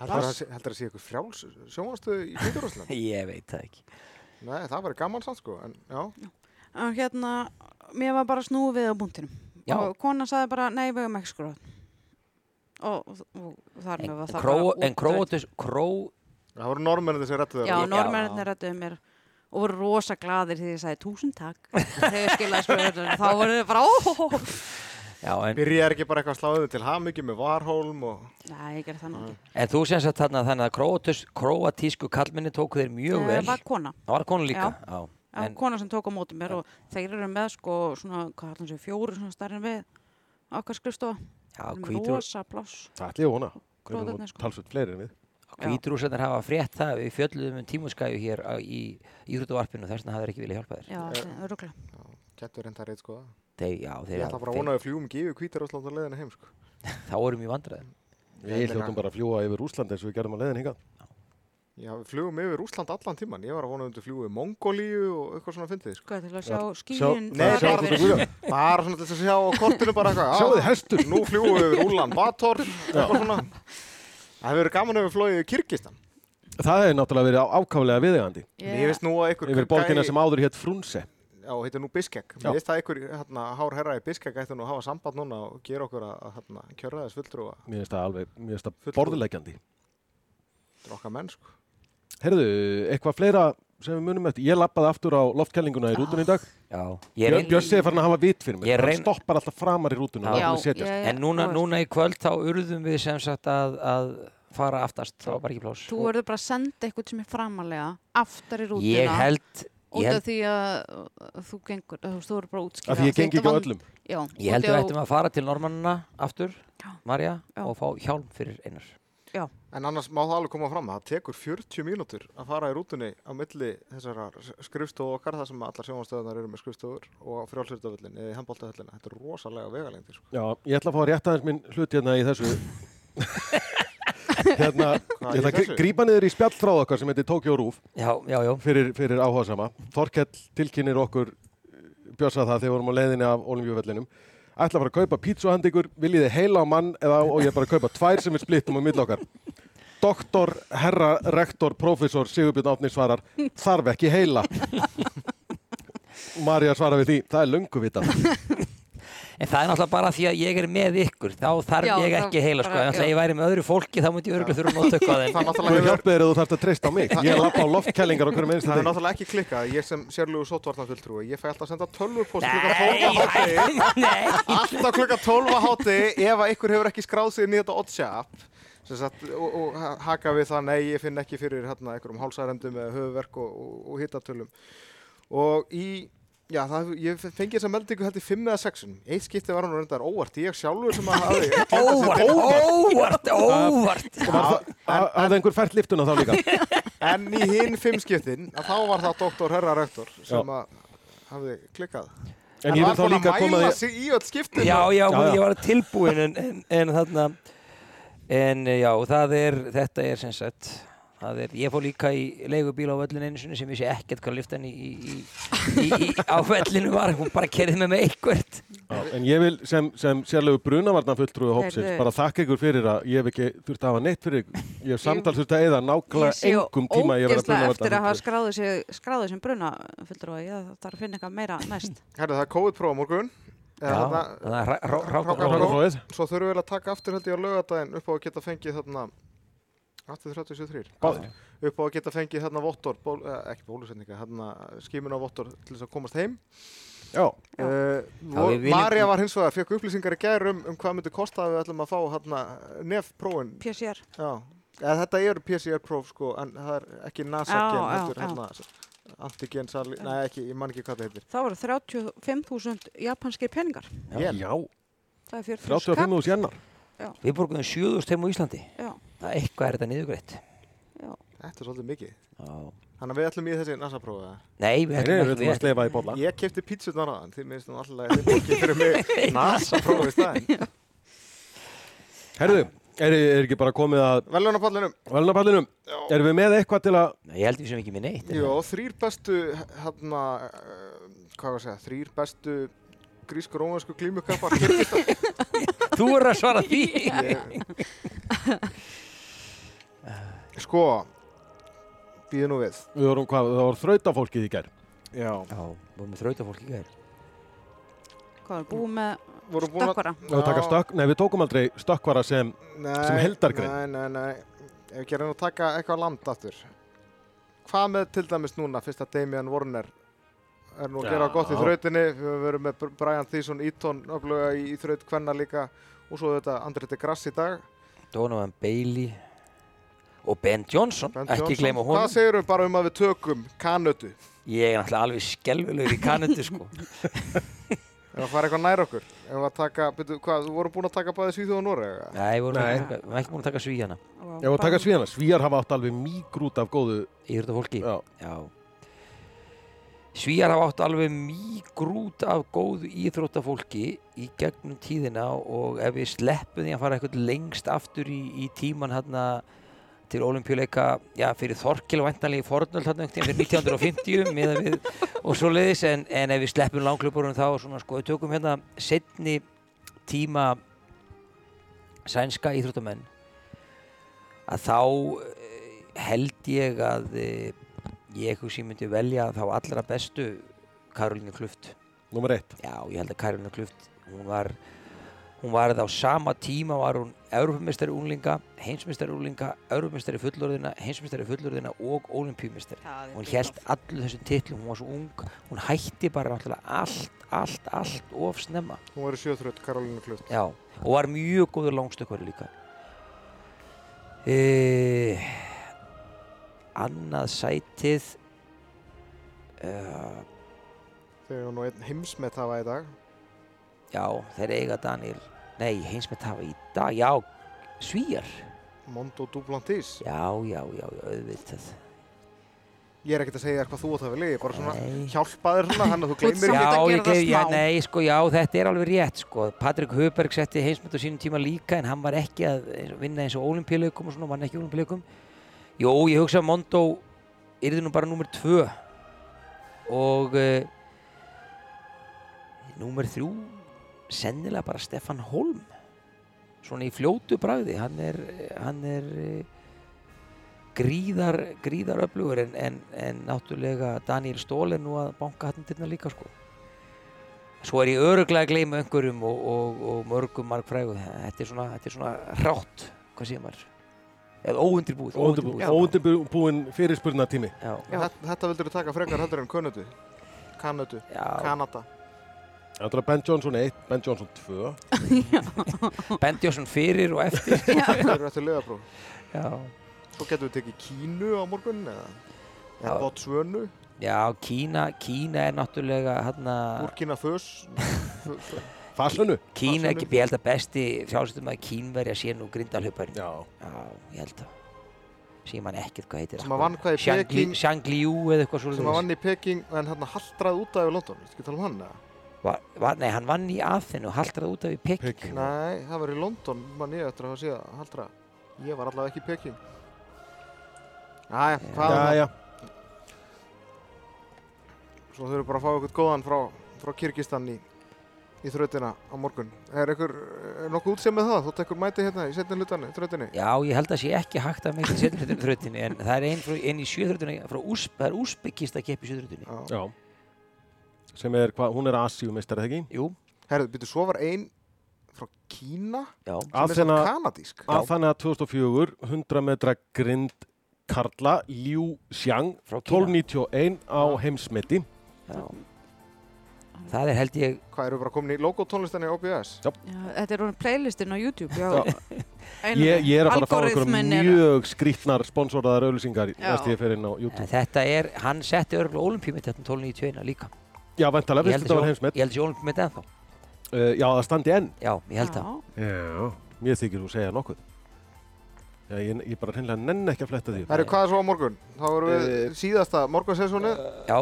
Heldur það að sé eitthvað fjáls sjónvanstöðu í hvítrúsland? ég veit það ekki Nei, það væri gaman samt sko, en já. En hérna, mér var bara snúið á búntinum Já. og konan sagði bara, nei, við höfum ekki skrúfið og, og, og þar með en, var það kró, bara en útrætt. króatus kró, Það voru normennir sem rættu Já, þeirra. normennir rættuðu mér og voru rosa gladir því ég sagði túsund takk þegar ég skilaði skoðunum þá voru þau bara óhóhó já, en, Byrjaði ekki bara eitthvað sláðið til hamyggjum með varhólm og... Nei, ég gerði það nú ekki en þú sem sagt þarna þannig að króatus, króatísku kallminni tóku þeir mjög Það vel Eh, var kona, það var konu líka já. það var En, kona sem tók á móti mér og þeir eru með sko svona, hvað allan sér, fjóru svona starri en við á okkar skrifstofa já, Þeir eru með hvítur, Rosa pláss það ætlum ég að vona Þeir eru Krótarnir, nú sko. talsveit fleiri en við Já. hvítrúsarnir hafa frétt það við fjöldluðum um tímuskæju hér á- í Íþrótavarpinu þess vegna hafa þeir ekki vilja hjálpa þér Já, Eh. öruglega Kettur reynda að reyta sko það. þeir, já, þeir, Ég ætla bara að þeir, vona að við fljúum gefið hvítrúsland á leiðinu heim sko. þá erum við vandræðum Ég við meina- hljóttum bara að fljúa yfir Úsland eins og við gerðum að leiðin hinga Já, við fljúum yfir Rúsland allan tíman. Ég var að vona að við fljúum Mongolíu og eitthvað svona fyndið sko. Sko, til að Já. sjá skýrin Sjá- Nei, Það er bara, bara- bara, bara svona til þess að sjá á kortinu bara eitthvað. sjáu þið já, hestur Nú fljúum við yfir Úlan Bator, eitthvað svona. Það hefur verið gaman ef við flóið yfir Kyrkistan. það hefði náttúrulega verið á- ákaflega viðegandi Mér finnst nú að ykkur yfir borgina sem áður hétt Frunse já, heitir nú Biskek. Já. Mér veist að ykkur hérna, hárherra í Biskek ætti nú að hafa samband núna og gera okkur að, að hérna, kjöra þess fulltrúa Mér finnst það alveg, mér finnst það Fulltrú- borðulegjandi. til okkar menn, sko. Herðu, eitthvað fleira sem við munum eftir. Ég lappaði aftur á loftkælinguna í rútunni í dag. Já, Ah, ég er Björn Björns er farin að hafa vit fyrir mig. Ég Hann reyn- stoppar alltaf framar í rútunni. Já, ég, já. En núna, núna í kvöld þá urðum við sem sagt að, að fara aftast, þá var ekki plás. Þú verður bara að senda eitthvað sem er framalega aftar í rútuna Ég held, ég út af held, því að uh, þú gengur, þú veist, þú verður bara að útskýra Af því ég þetta gengi ekki á vand- öllum. Já, ég held út við af- ættum að fara til normannina aftur, Já. Marja, Já. og fá hjálm fyrir einar. En annars má það alveg koma fram að það tekur 40 mínútur að fara í rútunni á milli þessara skrifstofu okkar þar sem allar sjónvarstöðunar eru með skrifstofur og frjálsvöldavöllin eða í handbóltavöllina. Þetta er rosalega vegalengdir. Sko. ég ætla að fá rétt aðeins minn hlut hérna í þessu. hérna, Hvað, ég í ætla að gr- þessu? grípa niður í spjallfráð okkar sem heitir Tokyo Roof Já, já, já. fyrir, fyrir áhuga sama. Þorkell tilkynir okkur bjösa það þegar við vorum á leiðinni af Olímpiuvellinum. Ætla að fara að kaupa pítsu handi ykkur, viljið þið heila á mann eða á ég bara að kaupa tvær sem við splittum á milli okkar. Doktor, herra, rektor, professor Sigurbjörn Átni svarar, þarf ekki heila. Marja svarar við því, það er löngu vitað. En það er náttúrulega bara því að ég er með ykkur, þá þarf Já, ég þá ekki heila, sko. bara- En já. þegar ég væri með öðru fólki, þá myndi ég örgulega þurfa að nota eitthvað. Það er En, Þú náttúrulega hefur hjálpið þér að þú þarft að treysta á mig. Ég lappa á loftkælingar okkur með Það er einstaklega. náttúrulega ekki klikkað, ég sem sérlugu sótvarnarfulltrúi, ég fæ alltaf að senda tölvurpost klukka 12 á hátegi, nei, nei, alltaf klukka 12 á hátegi ef að ykkur hefur ekki skráð sig inn í þetta oddsjap sagt, og, og ha- haka við það, nei, ég finn ekki fyrir hérna einhverjum hálsærendum eða höfuverk og, og, og hittatölum. Og í, já, það, ég fengi þess að melda ykkur held í 5 eða 6, eitt skipti var hann reyndar óvart, ég sjálfur sem að hafi glemt að setja- óvart, óvart, óvart. Það er einhver fært liftuna þá líka. En í hinn fimm skiptin, að þá var það doktor Herra Rektor sem að hafði klikkað. En ég vil var þá búinn líka að koma mæla því- sig í öll skiptin. Já, já, Já, já. ég var tilbúin, en, en, en þarna, en já, það er, þetta er sem sagt, það er, ég fór líka í leigubíl á völlinu einu sinni sem vissi ekkert hvað lyftan í, í, í, í, í á völlinu var, hún bara kerði með mig eitthvert. Já, en ég vil sem, sem sérlegu brunavarna fulltrúi hópsins Heyrðu. bara þakka ykkur fyrir að ég hef ekki þurft að hafa neitt fyrir ykkur. Ég hef samtal þurft að eða Ég nákvæmlega sé engum tíma ég var að ógeðslega eftir brunavarna að hafa skráðið sig, skráðið sem bruna fylgdur og ég þarf að finna eitthvað meira næst. Herra, það er COVID-próf á morgun. Já, Eða það þarna- er rá- rá- Ráka- rákaflóð. Ráka- fulltrúi. Svo þurfum við að taka aftur held ég á lögadaginn upp á að geta fengið þarna 8.33 Báðir. upp á að geta fengið þarna vottor, ból, eh, ekki bólusetninga, þarna skímin á vottor til þess að komast heim. Já, Já. Uh, Já, og við viljum- Marja var hins vegar, fekk upplýsingar í gærum um hvað myndi kosta að við ætlum að fá hérna, nefprófin PCR. Já, eða þetta eru PCR-próf sko, en það er ekki NASA-gen, Já, já, heldur já. hérna antigen sali, nei ekki, ég man ekki hvað það heitir. Það voru 35.000 japanskir peningar. Yen. já, Það er 40 35 skall. hús jennar. Við borgum 7.000 heim á Íslandi. Já, Það er eitthvað er þetta niðurgreitt. já. Þetta er svolítið mikið. Já. Þannig að við ætlum í þessi NASA-prófi. Nei, við Nei, nei, ætlum ekki við erum að slefa í bolla. Ég kefti pítsu þarnaðan, þið minnst nú alltaf að þið ekki fyrir mig NASA-prófi í staðin. Herðu, er, er ekki bara komið að Velun á pallinum. velnapallinum? Erum við með eitthvað til að... Ég held við sem ekki með neitt. er Jó, þrýr bestu, hérna, uh, hvað var að segja, þrýr bestu grísk-rómansku glímukappar Kyrgyzstan. það? Þú er að svara því. Sko, býðu nú við. Við vorum hvað, það var þrautafólkið í gær. Já. Já, við vorum með hérna. þrauta fólk í gæðir. Hvað er búið með Voru búin að... stakkvara? Við taka Já. stökk, nei við tókum aldrei stökkvara sem, Nei, sem heildargrein. Nei, nei, nei. Ef ekki reyna að taka eitthvað land aftur. Hvað með til dæmis núna, fyrst að Damian Warner er nú að gera Já. gott í þrautinni, við höfum verið með Br- Brian Thiessen, Eaton, öfluga í, í þraut kvenna líka og svo þetta André de Grass í dag. Donovan Bailey og Ben Johnson, Ben ekki Johnson. gleyma honum. Hvað segir við bara um að við tökum kanötu? Ég er náttúrulega alveg skelvilegur í Kanadu sko. Ef að fara eitthvað nær okkur? Ef að taka, byrju, hvað, þú voru búin að taka bæði Svíþjóð og Norega? Nei, við vorum Nei. ekki, við vorum ekki búin að taka svíjana já við taka svíjana, svíjar hafa átt alveg mýgrút af góðu, í þetta fólki. já, Já. Svíjar hafa átt alveg mýgrút af góðu íþróttafólki í gegnum tíðina og ef við sleppum því að fara eitthvað lengst aftur í, í tíman hérna til olimpíuleika, já, fyrir Þorkil væntanlega í fornöld hérna einhvern veginn fyrir 1950 miðað við og svo leiðis en, en ef við sleppum langklubburum þá svona sko, við tökum hérna setni tíma sænska íþróttamenn að þá eh, held ég að eh, ég hugsi ég myndi velja þá allra bestu Karolínu Kluft Númer eitt. já, ég held að Karolínu Kluft hún var hún var það á sama tíma var hún Europamestari úlinga, heimsmestari úlinga Europamestari fullorðina, heimsmestari fullorðina og olimpíumestari Það er hún big held love. allu þessum titlum, hún var svo ung hún hætti bara náttúrulega allt, allt, allt of snemma Hún verður sjöþröld, Karolínu Kluft. já, og var mjög góður langstökkveri líka e, annað sætið uh, Þau eru nú einn heimsmet hafa í dag. já, þeir eiga Daniel nei, heins með tafa í dag já, svíjar Mondo Duplantis. já, já, já, já, auðvitað Ég er ekkert að segja þér hvað þú átt að velja, ég bara svona Nei. hjálpa þér svona, hann að þú gleymir Þú ert ekki. samt já, að ég gera það gef, já, smá. nei, sko, já, þetta er alveg rétt, sko. Patrik Hauberg setti heimsmynd á sínum tíma líka en hann var ekki að eins og- vinna eins og olimpíuleikum og svona, vann ekki olimpíuleikum. Jó, ég hugsa að Mondo yrði nú bara númer tvö og uh, númer þrjú sennilega bara Stefan Holm svona í fljótu bragði hann er, hann er eh, gríðar, gríðar öflugur en, en, en náttúrulega Daniel Stól er nú að banka hann til líka sko svo er ég öruglega að gleyma einhverjum og, og, og mörgum margfrægu þetta er svona, þetta er svona rátt hvað séu maður eða óundirbúið Óundirbúin, óundirbúin fyrirspurnatími. Já. Þetta, þetta vildur þú taka frekar heldur en Könötu. Kanötu. Já, Kanada. Þetta er Ben Johnson 1, Ben Johnson 2. bendi á svona fyrir og eftir Þau eru eftir lögabrú. Já, Svo getum við tekið Kínu á morgun eða, eða Já. Botsvönu, Já Kína, Kína er náttúrulega hana, Burkina Föss. Fö- Fö- Fasönu. Kína, Barcelona. ég held að besti frjálsættum að Kínverja sé nú grindalhauparinn Já. Já, ég held að sé mann ekkert hvað heitir Sem að vann hvað í Shang Li- Peking- Shang Liu eða eitthvað sem að svolítið vann í Peking en hann haldraði út af í London, viltu ekki tala um hann eða? Va, va, Nei, hann vann í Aþenu, haldrað út af í Peking Peking. Nei, það var í London, mann ég eftir að hafa síðan haldra Ég var allavega ekki í Peking Jæja, hvað um Já, er já. það? Svo þurfum við bara að fá eitthvað góðan frá, frá Kyrkistan í, í þrautina á morgun Er ykkur er nokkuð útsef með það? Þú tekur mæti hérna í setni hlutan, þrautinni Já, ég held að sé ekki hægt að mikið setjum þrautinni en það er einn frá, ein í sjöþrautinni frá Úsp, það er Úsbekist að keppi sjöþrautinni Já. Já. Sem er hvað, hún er Asíumeistar, eða ekki? Jú, Herðu, byrju, svo var ein frá Kína já, sem er Aþena, samt kanadísk Aþena 2004, 100 metra grind Karla Liu Xiang, frá Kína 1291 á heimsmeti. já. Það er held ég Hvað eru bara komin í logotónlistinni á OBS? Já, þetta er orðin playlistin á YouTube já, Já. Einum- Ég, ég er að fara að fá einhverjum Algoritminn er- mjög skrýtnar sponsoraðar auðlýsingar Já. næst ég fer inn á YouTube. En þetta er, hann setti hérna örgulega olimpíumet þetta 1291 líka. Já, vantalega, Ég veist held þetta var að heimsmet. sé- ég held þessi olimpíumet ennþá. Uh, já, það standi enn. Já, ég held það. Já. Já. Mér þykir þú segja nokkuð. Já, ég, ég bara hreinlega nenn ekki að fletta því. Herru, hvað er svo á morgun? Þá erum við Eh, síðasta morgunsessónu Já,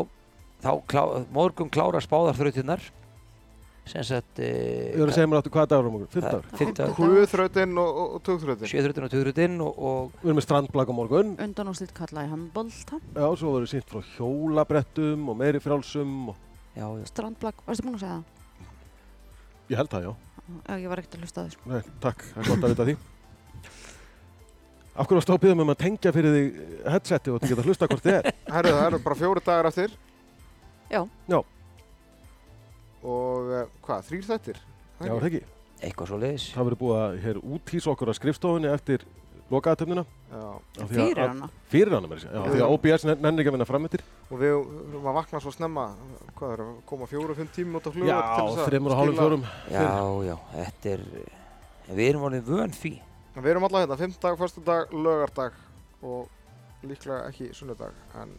þá klá, morgun klára spáðar þrautinnar. Sem sagt, eh, Ég verður að segja mér áttu hvað dagur á morgun, 15 dagur. Fyrta, Húðþrautin og, og tugþrautin sjöþrautin og tugrautin og, og Við erum með strandblag á morgun, undan og slitt kalla í handbolta já, svo verður sýnt frá hjólabrettum og meiri frálsum og já, já. strandblag, varstu búin að segja það? ég held það, já. Já, ég var ekkert að hlusta á þér sko. Nei, takk, það er gott að vita því. Af hverju varstu að stópiða um að tengja fyrir þig headseti og þú geta hlusta hvort þið er? Herru, það eru bara fjóri dagar eftir Já. Já. Og eh, hvað, þrýr þættir? Já, er það ekki. eitthvað svo leiðis. Það verður búið að hér úthýsa okkur að skrifstofunni eftir lokaðatöfnina. Já, fyrir hana Fyrir hana mér að segja, já, af því að OBS nenn- nennir ekki að vinna fram eftir. og við erum að vakna svo snemma Hvað er, koma fjóru og fimm tími út á Já, flugvöld þreymur og hálfum fjórum. Já, já, þetta er, en við erum alveg vön því. Við erum alla hérna, fimmtdag, föstudag, lögardag og líklega ekki sunnudag en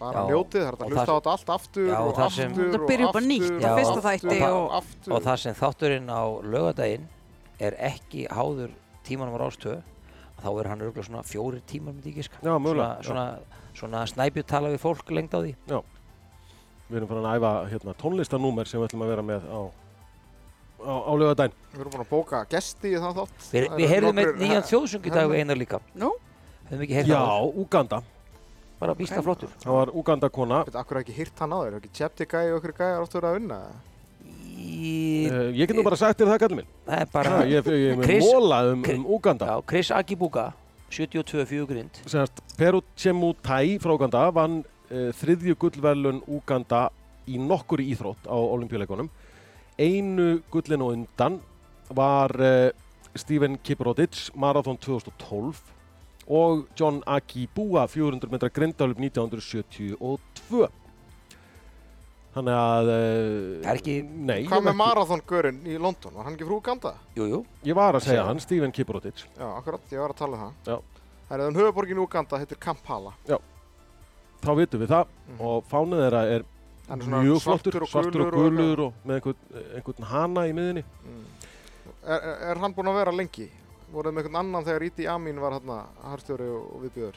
bara Já, njótið, það er hægt og að hlusta á þar- þetta allt aftur Já, og þar sem- aftur Þetta byrjar upp á nýtt, aftur á og fyrsta aftur þætti og- aftur. Og það sem þátturinn á lögadaginn er ekki háður tímanum á rástöðu, þá er hann örgulega svona fjóri tímar myndi ég giska. Já, mögulega, já. Svona, svona, svona snæbjut tala við fólk lengt á því. Við erum farin að æfa hérna, tónlistanúmer sem við ætlum að vera með á, á, á lögadaginn. Við erum búin að bóka gesti í þann þátt. Við, Það við eru heyrðum einn nokkrir- nýjan þjóðsöng í dag við hermenn. einar líka. Nú? Höfum ekki heyrðum Já, Úganda. Bara býsta flottur. Það var Úganda kona. Við akkur ekki hýrt hann á þér, ekki tjepti gæi og okkur gæi er oft verið að vinna. Í, Uh, ég get nú bara sagt þér það, kallið minn. það er Já, bara... ég ég- ég er með Chris- móla um, Chris- um Úganda. Já, Chris Akibuka, 72 fjögurind. Semast, Peru Chemu Tai frá eh, Úganda vann uh, þriðju gullverlun Úganda í nokkur íþrótt á olimpíuleikunum. Einu gullin og undan var uh, Steven Kiprodich, Marathon 2012 og John Akibua, 400 metra grindalöp 1972. Þannig að... Uh, Það er ekki- Nei, ég Hvað var með marathongörinn í London? Var hann ekki frú Uganda? Jú, jú. Ég var að segja hann, Steven Kiprodich. Já, akkurat, ég var að tala um það. Já. Það er þann höfuborgin Uganda, heitir Kampala. Þá vitum við það Mhm. og fánið þeirra er Hann er svona mjög flottur, svartur og gulur eitthvað. og með einhvern, einhvern hana í miðinni. Mm. Er, er, er hann búinn að vera lengi? Voruð með einhvern annan þegar Íti Amin var hérna, harstjóri og, og viðbjöður?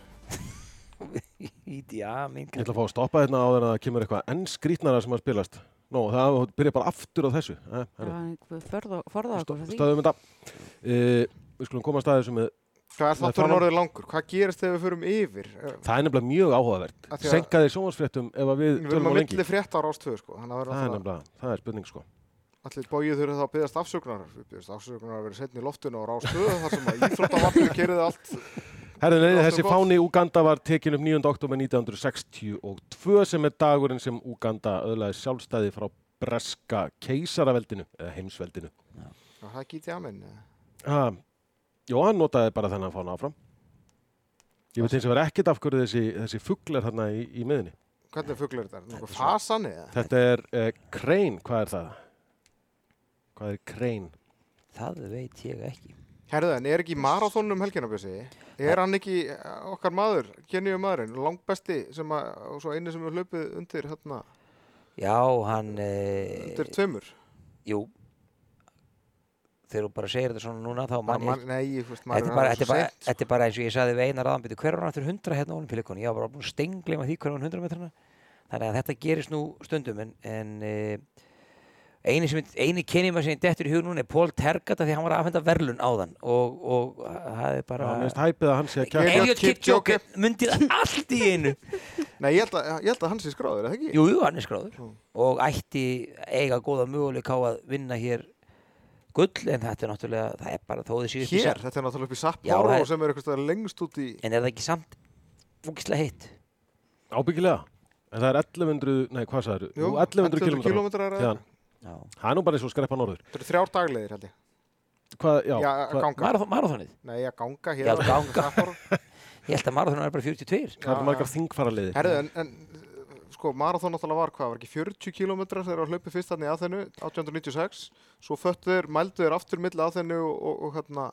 Íti, já, minn Ég ætla að fá að stoppa hérna áður en það kemur eitthvað enn skrýtnara sem að spilast. Nó, það byrja bara aftur á þessu. Eh, Það herru, var einhver forða- forða okkur frá því. Stöðum þetta. Uh, við skulum koma að staðið sem við, Hvað er Nei, þátturinn talan- orðið langur? Hvað gerist þegar við förum yfir? Eh, það er nefnilega mjög áhugavert. Af því að- Senkaði sjónvarsfréttum ef að við Við erum tölum á að lengi. milli fréttar ástöðu sko, þannig að Það er verður alltaf, nefnilega, það er spurning sko. allir bóið þurfa þá að byggast afsökunar. Við byggast afsökunar að vera setni í loftinu og rástöðu þar sem að íþróttavarpinu kerið allt. Herðin, Allt nei, er þessi gott. fáni Úganda var tekin upp 9. oktober 1962 sem er dagurinn sem Úganda öðlaði sjálfstæði frá breska keisaraveldinu, eða heimsveldinu. Já, það er Íti Amin. eh. Ha, Jó, hann notaði bara þennan fána áfram. Ég veit eins og verið ekkert af hverju þessi, þessi fuglar þarna í, í miðinni. Hvernig fugglar þetta? Náttúrulega svona- fasan eða? Þetta er eh, krein, hvað er það? Hvað er krein? Það veit ég ekki. Herðu, en er ekki marathon um helgina, Bjössi? Er hann ekki eh, okkar maður, genjum maðurinn, langbesti sem að, og svo eini sem er hlaupið undir, hérna, Já, hann... Eh, undir tveimur? Jú. Þegar þú bara segir þetta svona núna, þá Man, mann ég... man, nei, ég veist, maður Þetta er, bara, orðinn þetta, er svo bara, seint, þetta er bara eins og ég saði við einar aðanbyrju, hver var hann aftur 100 hérna á olimpíuleikunni? Ég var bara búin að stengleima því hver var hann 100 metrana. Þannig að þetta gerist nú stundum en, en eh, eini, sem, eini kynima sem ég dettur í hug núna er Pól Tergata því hann var að afhenda verlun á þann og, og eh, það er Já, bara... mér finnst hæpið að hann sé að kæra. Elliot Elliot Kipchoge. Kipchoge myndi það allt í einu sko. Nei, ég held, að, ég held að hans er skráður, eða ekki? Jú, jú, hann er skráður Mm. og ætti eiga góða möguleika á að vinna hér gull en þetta er náttúrulega, það er bara þóðið síðust Hér, þetta er náttúrulega upp í Já, Sapporo það er- sem er eitthvað staðar lengst út í... en er það ekki samt fúkislega heitt Ábyggilega. En það er 1100, nei hvað sagður? Jú, Jú, 1100 kilometrar. kílómetrar eða- Þaðan. Já. Það er nú bara eins og skreppa norður. Þetta eru þrjár daglegir, held ég. Hvað, já, Já, að hvað, ganga. Marathon, marathonið, Nei, að ganga hér. Já, að ganga. Sapporo. ég held að marathonið er bara 42 hvað Já, er margar já. þingfararliðir? Herðu, en, en eh, sko, marathon náttúrulega var hvað, var ekki 40 km þegar að hlaupi fyrst hann í aðþennu 1896, svo föttu þeir, mældu þeir aftur milli aðþennu og, og, og hérna,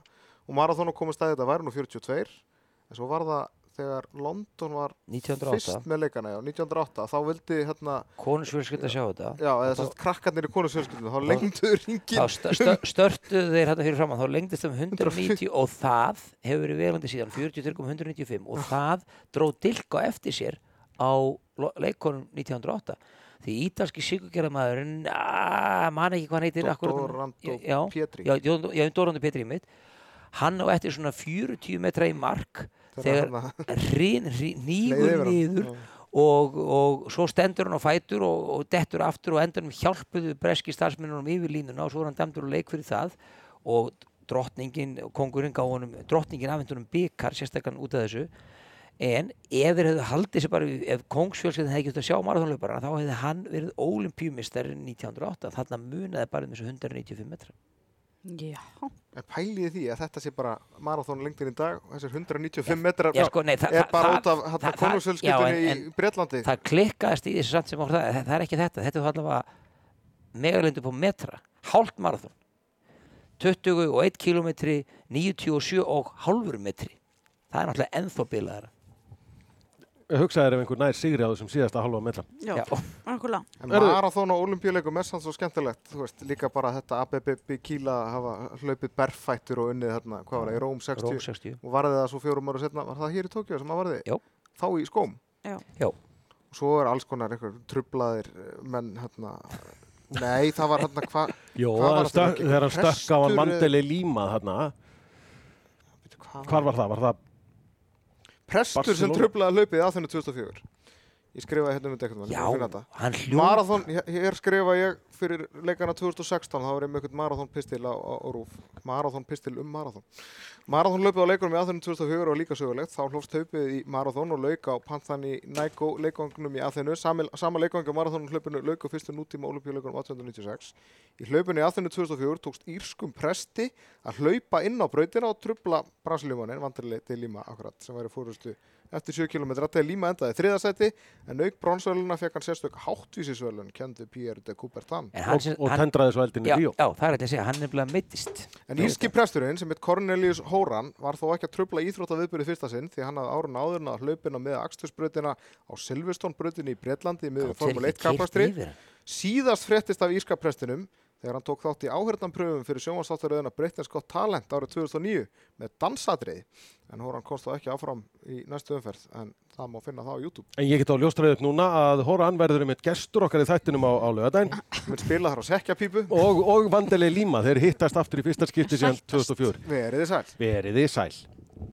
og marathon og komið stæði þetta væri nú 42, en svo var það þegar London var 1908, fyrst með leikana, já, 1908, þá vildi hérna, konusfjölskylda sjá þetta já, eða Og þá- sérst krakkarnir í konusfjölskyldinu, þá lengduðu þá ringin, stö- stö- störtuðu þeir hérna fyrir framann þá lengdist þeim 190 og það hefur verið velandi síðan 43,195 og það dró dilk á eftir sér á lo- leikkonum 1908 því ítalski sigurgerðamaðurinn ah, man ekki hvað hann heitir akkúrat núna. Dorando Já, Pietri, já, Jón- já, Dórandi Petri mitt hann á eftir svona 40 metra í mark þegar þegar hann hrin, hrin, leið nýgur yfir hann. niður Já. og, og svo stendur hann á fætur og, og dettur aftur og endanum hjálpuðu breski starfsmennunum yfir línuna og svo er hann dæmdur á leik fyrir það og drottningin, kongurinn gá honum drottningin afhendunum byggar sérstakann út af þessu en ef þeir hefðu haldið sér bara, við- ef kongsfjölskeðin hefði getið að sjá marathónlauparana þá hefði hann verið ólimpíumistarinn 1908 þarna munaði bara um þessu 195 metra Já, En pæliði því að þetta sé bara marathon lengdin í dag og þessir 195 metrar Já, sko, nei, það- er það- bara það- út af hérna, það- það- já, konungsfjölskyldinni en- í Bretlandi. það klikkaðist í þessu samt sem okkur það, það, það er ekki þetta, þetta er allavega megalindu på metra, hálft marathon 21 km 97 og hálfur metri það er náttúrulega ennþá bilaðara Hugsaðir ef einhver nær sigri á þessum síðasta halva metra. já, okkurlega. En Herðu. marathon og olimpíuleikum er samt svo skemmtilegt, þú veist, líka bara þetta ABB Kíla hafa hlaupið berfættur og unnið hérna, hvað var það, í Róm 60 Róm 60 og varði það svo fjórum ára setna, var það hér í Tókjó sem það varði? Jó. Þá í skóm. Já. Já. Og svo er alls konar einhver trublaðir eh, menn hérna, nei það var hérna hvað, Jó, Hvað var hann aftur stökk- ekki? eh, þegar hann stökk á Prestur hann eða- mandeli líma þarna. hvað Hvar var það? Var það Prestur sem Barcelona. trublaði hlaupið að þennu 2004. Ég skrifaði hérna um þetta einhvern veginn, ég var að finna Já, þetta. hann hljóð Marathon, hér- hér skrifa ég fyrir leikana 2016, þá var ég með einhvern marathonpistil á, á, á rúf. Marathonpistil um marathon. Marathon löpið á leikunum í aðþunum 2004 og líka sögulegt, þá hlófst haupið í marathon og lauk á Panthani Naiko leikangunum í aðþunu. Sama leikang á marathonum hlaupinu lauk á fyrstu nútíma olimpíuleikunum 1896. Í hlaupinu í aðþunum 2004 tókst Írskum presti að hlaupa inn á brautina og trubla brasiljumannin, vandrileg til Lima akkurat, sem væri fórustu eftir 7 km. Þetta er Lima endaði þriðasæti en auk bronsveluna fekk hann sérstök háttvísisvelun kendi Pierre de Coubertin. En hann og, sem, og hann, tendraði svo eldin í já, Ríó. já, það er þetta að segja, hann nefnilega mittist En íski presturinn sem heit Cornelius Horan var þó ekki að trubla íþrótta viðbyrði fyrsta sinn því hann hafði árun áður náð hlaupin á miða Axtursbrautina á Silvestonbrautinni í Bretlandi í miður Formule 1 kapastri. Síðast fréttist af íska prestinum þegar hann tók þátt í áhörðanpröfum fyrir sjónvarsáttaröðuna Britain's Got Talent árið 2009 með dansatriði. En Horan komst þá ekki áfram í næstu umferð en það má finna það á YouTube. En ég get á ljóstræðið upp núna að Horan verður um eitt gestur okkar í þættinum á, á lögadaginn Ég mun spila þar á sekkjapípu. og, og vandilegi líma. Þeir hittast aftur í fyrsta skipti síðan 2004. Verið þið sæl. Veriði sæl.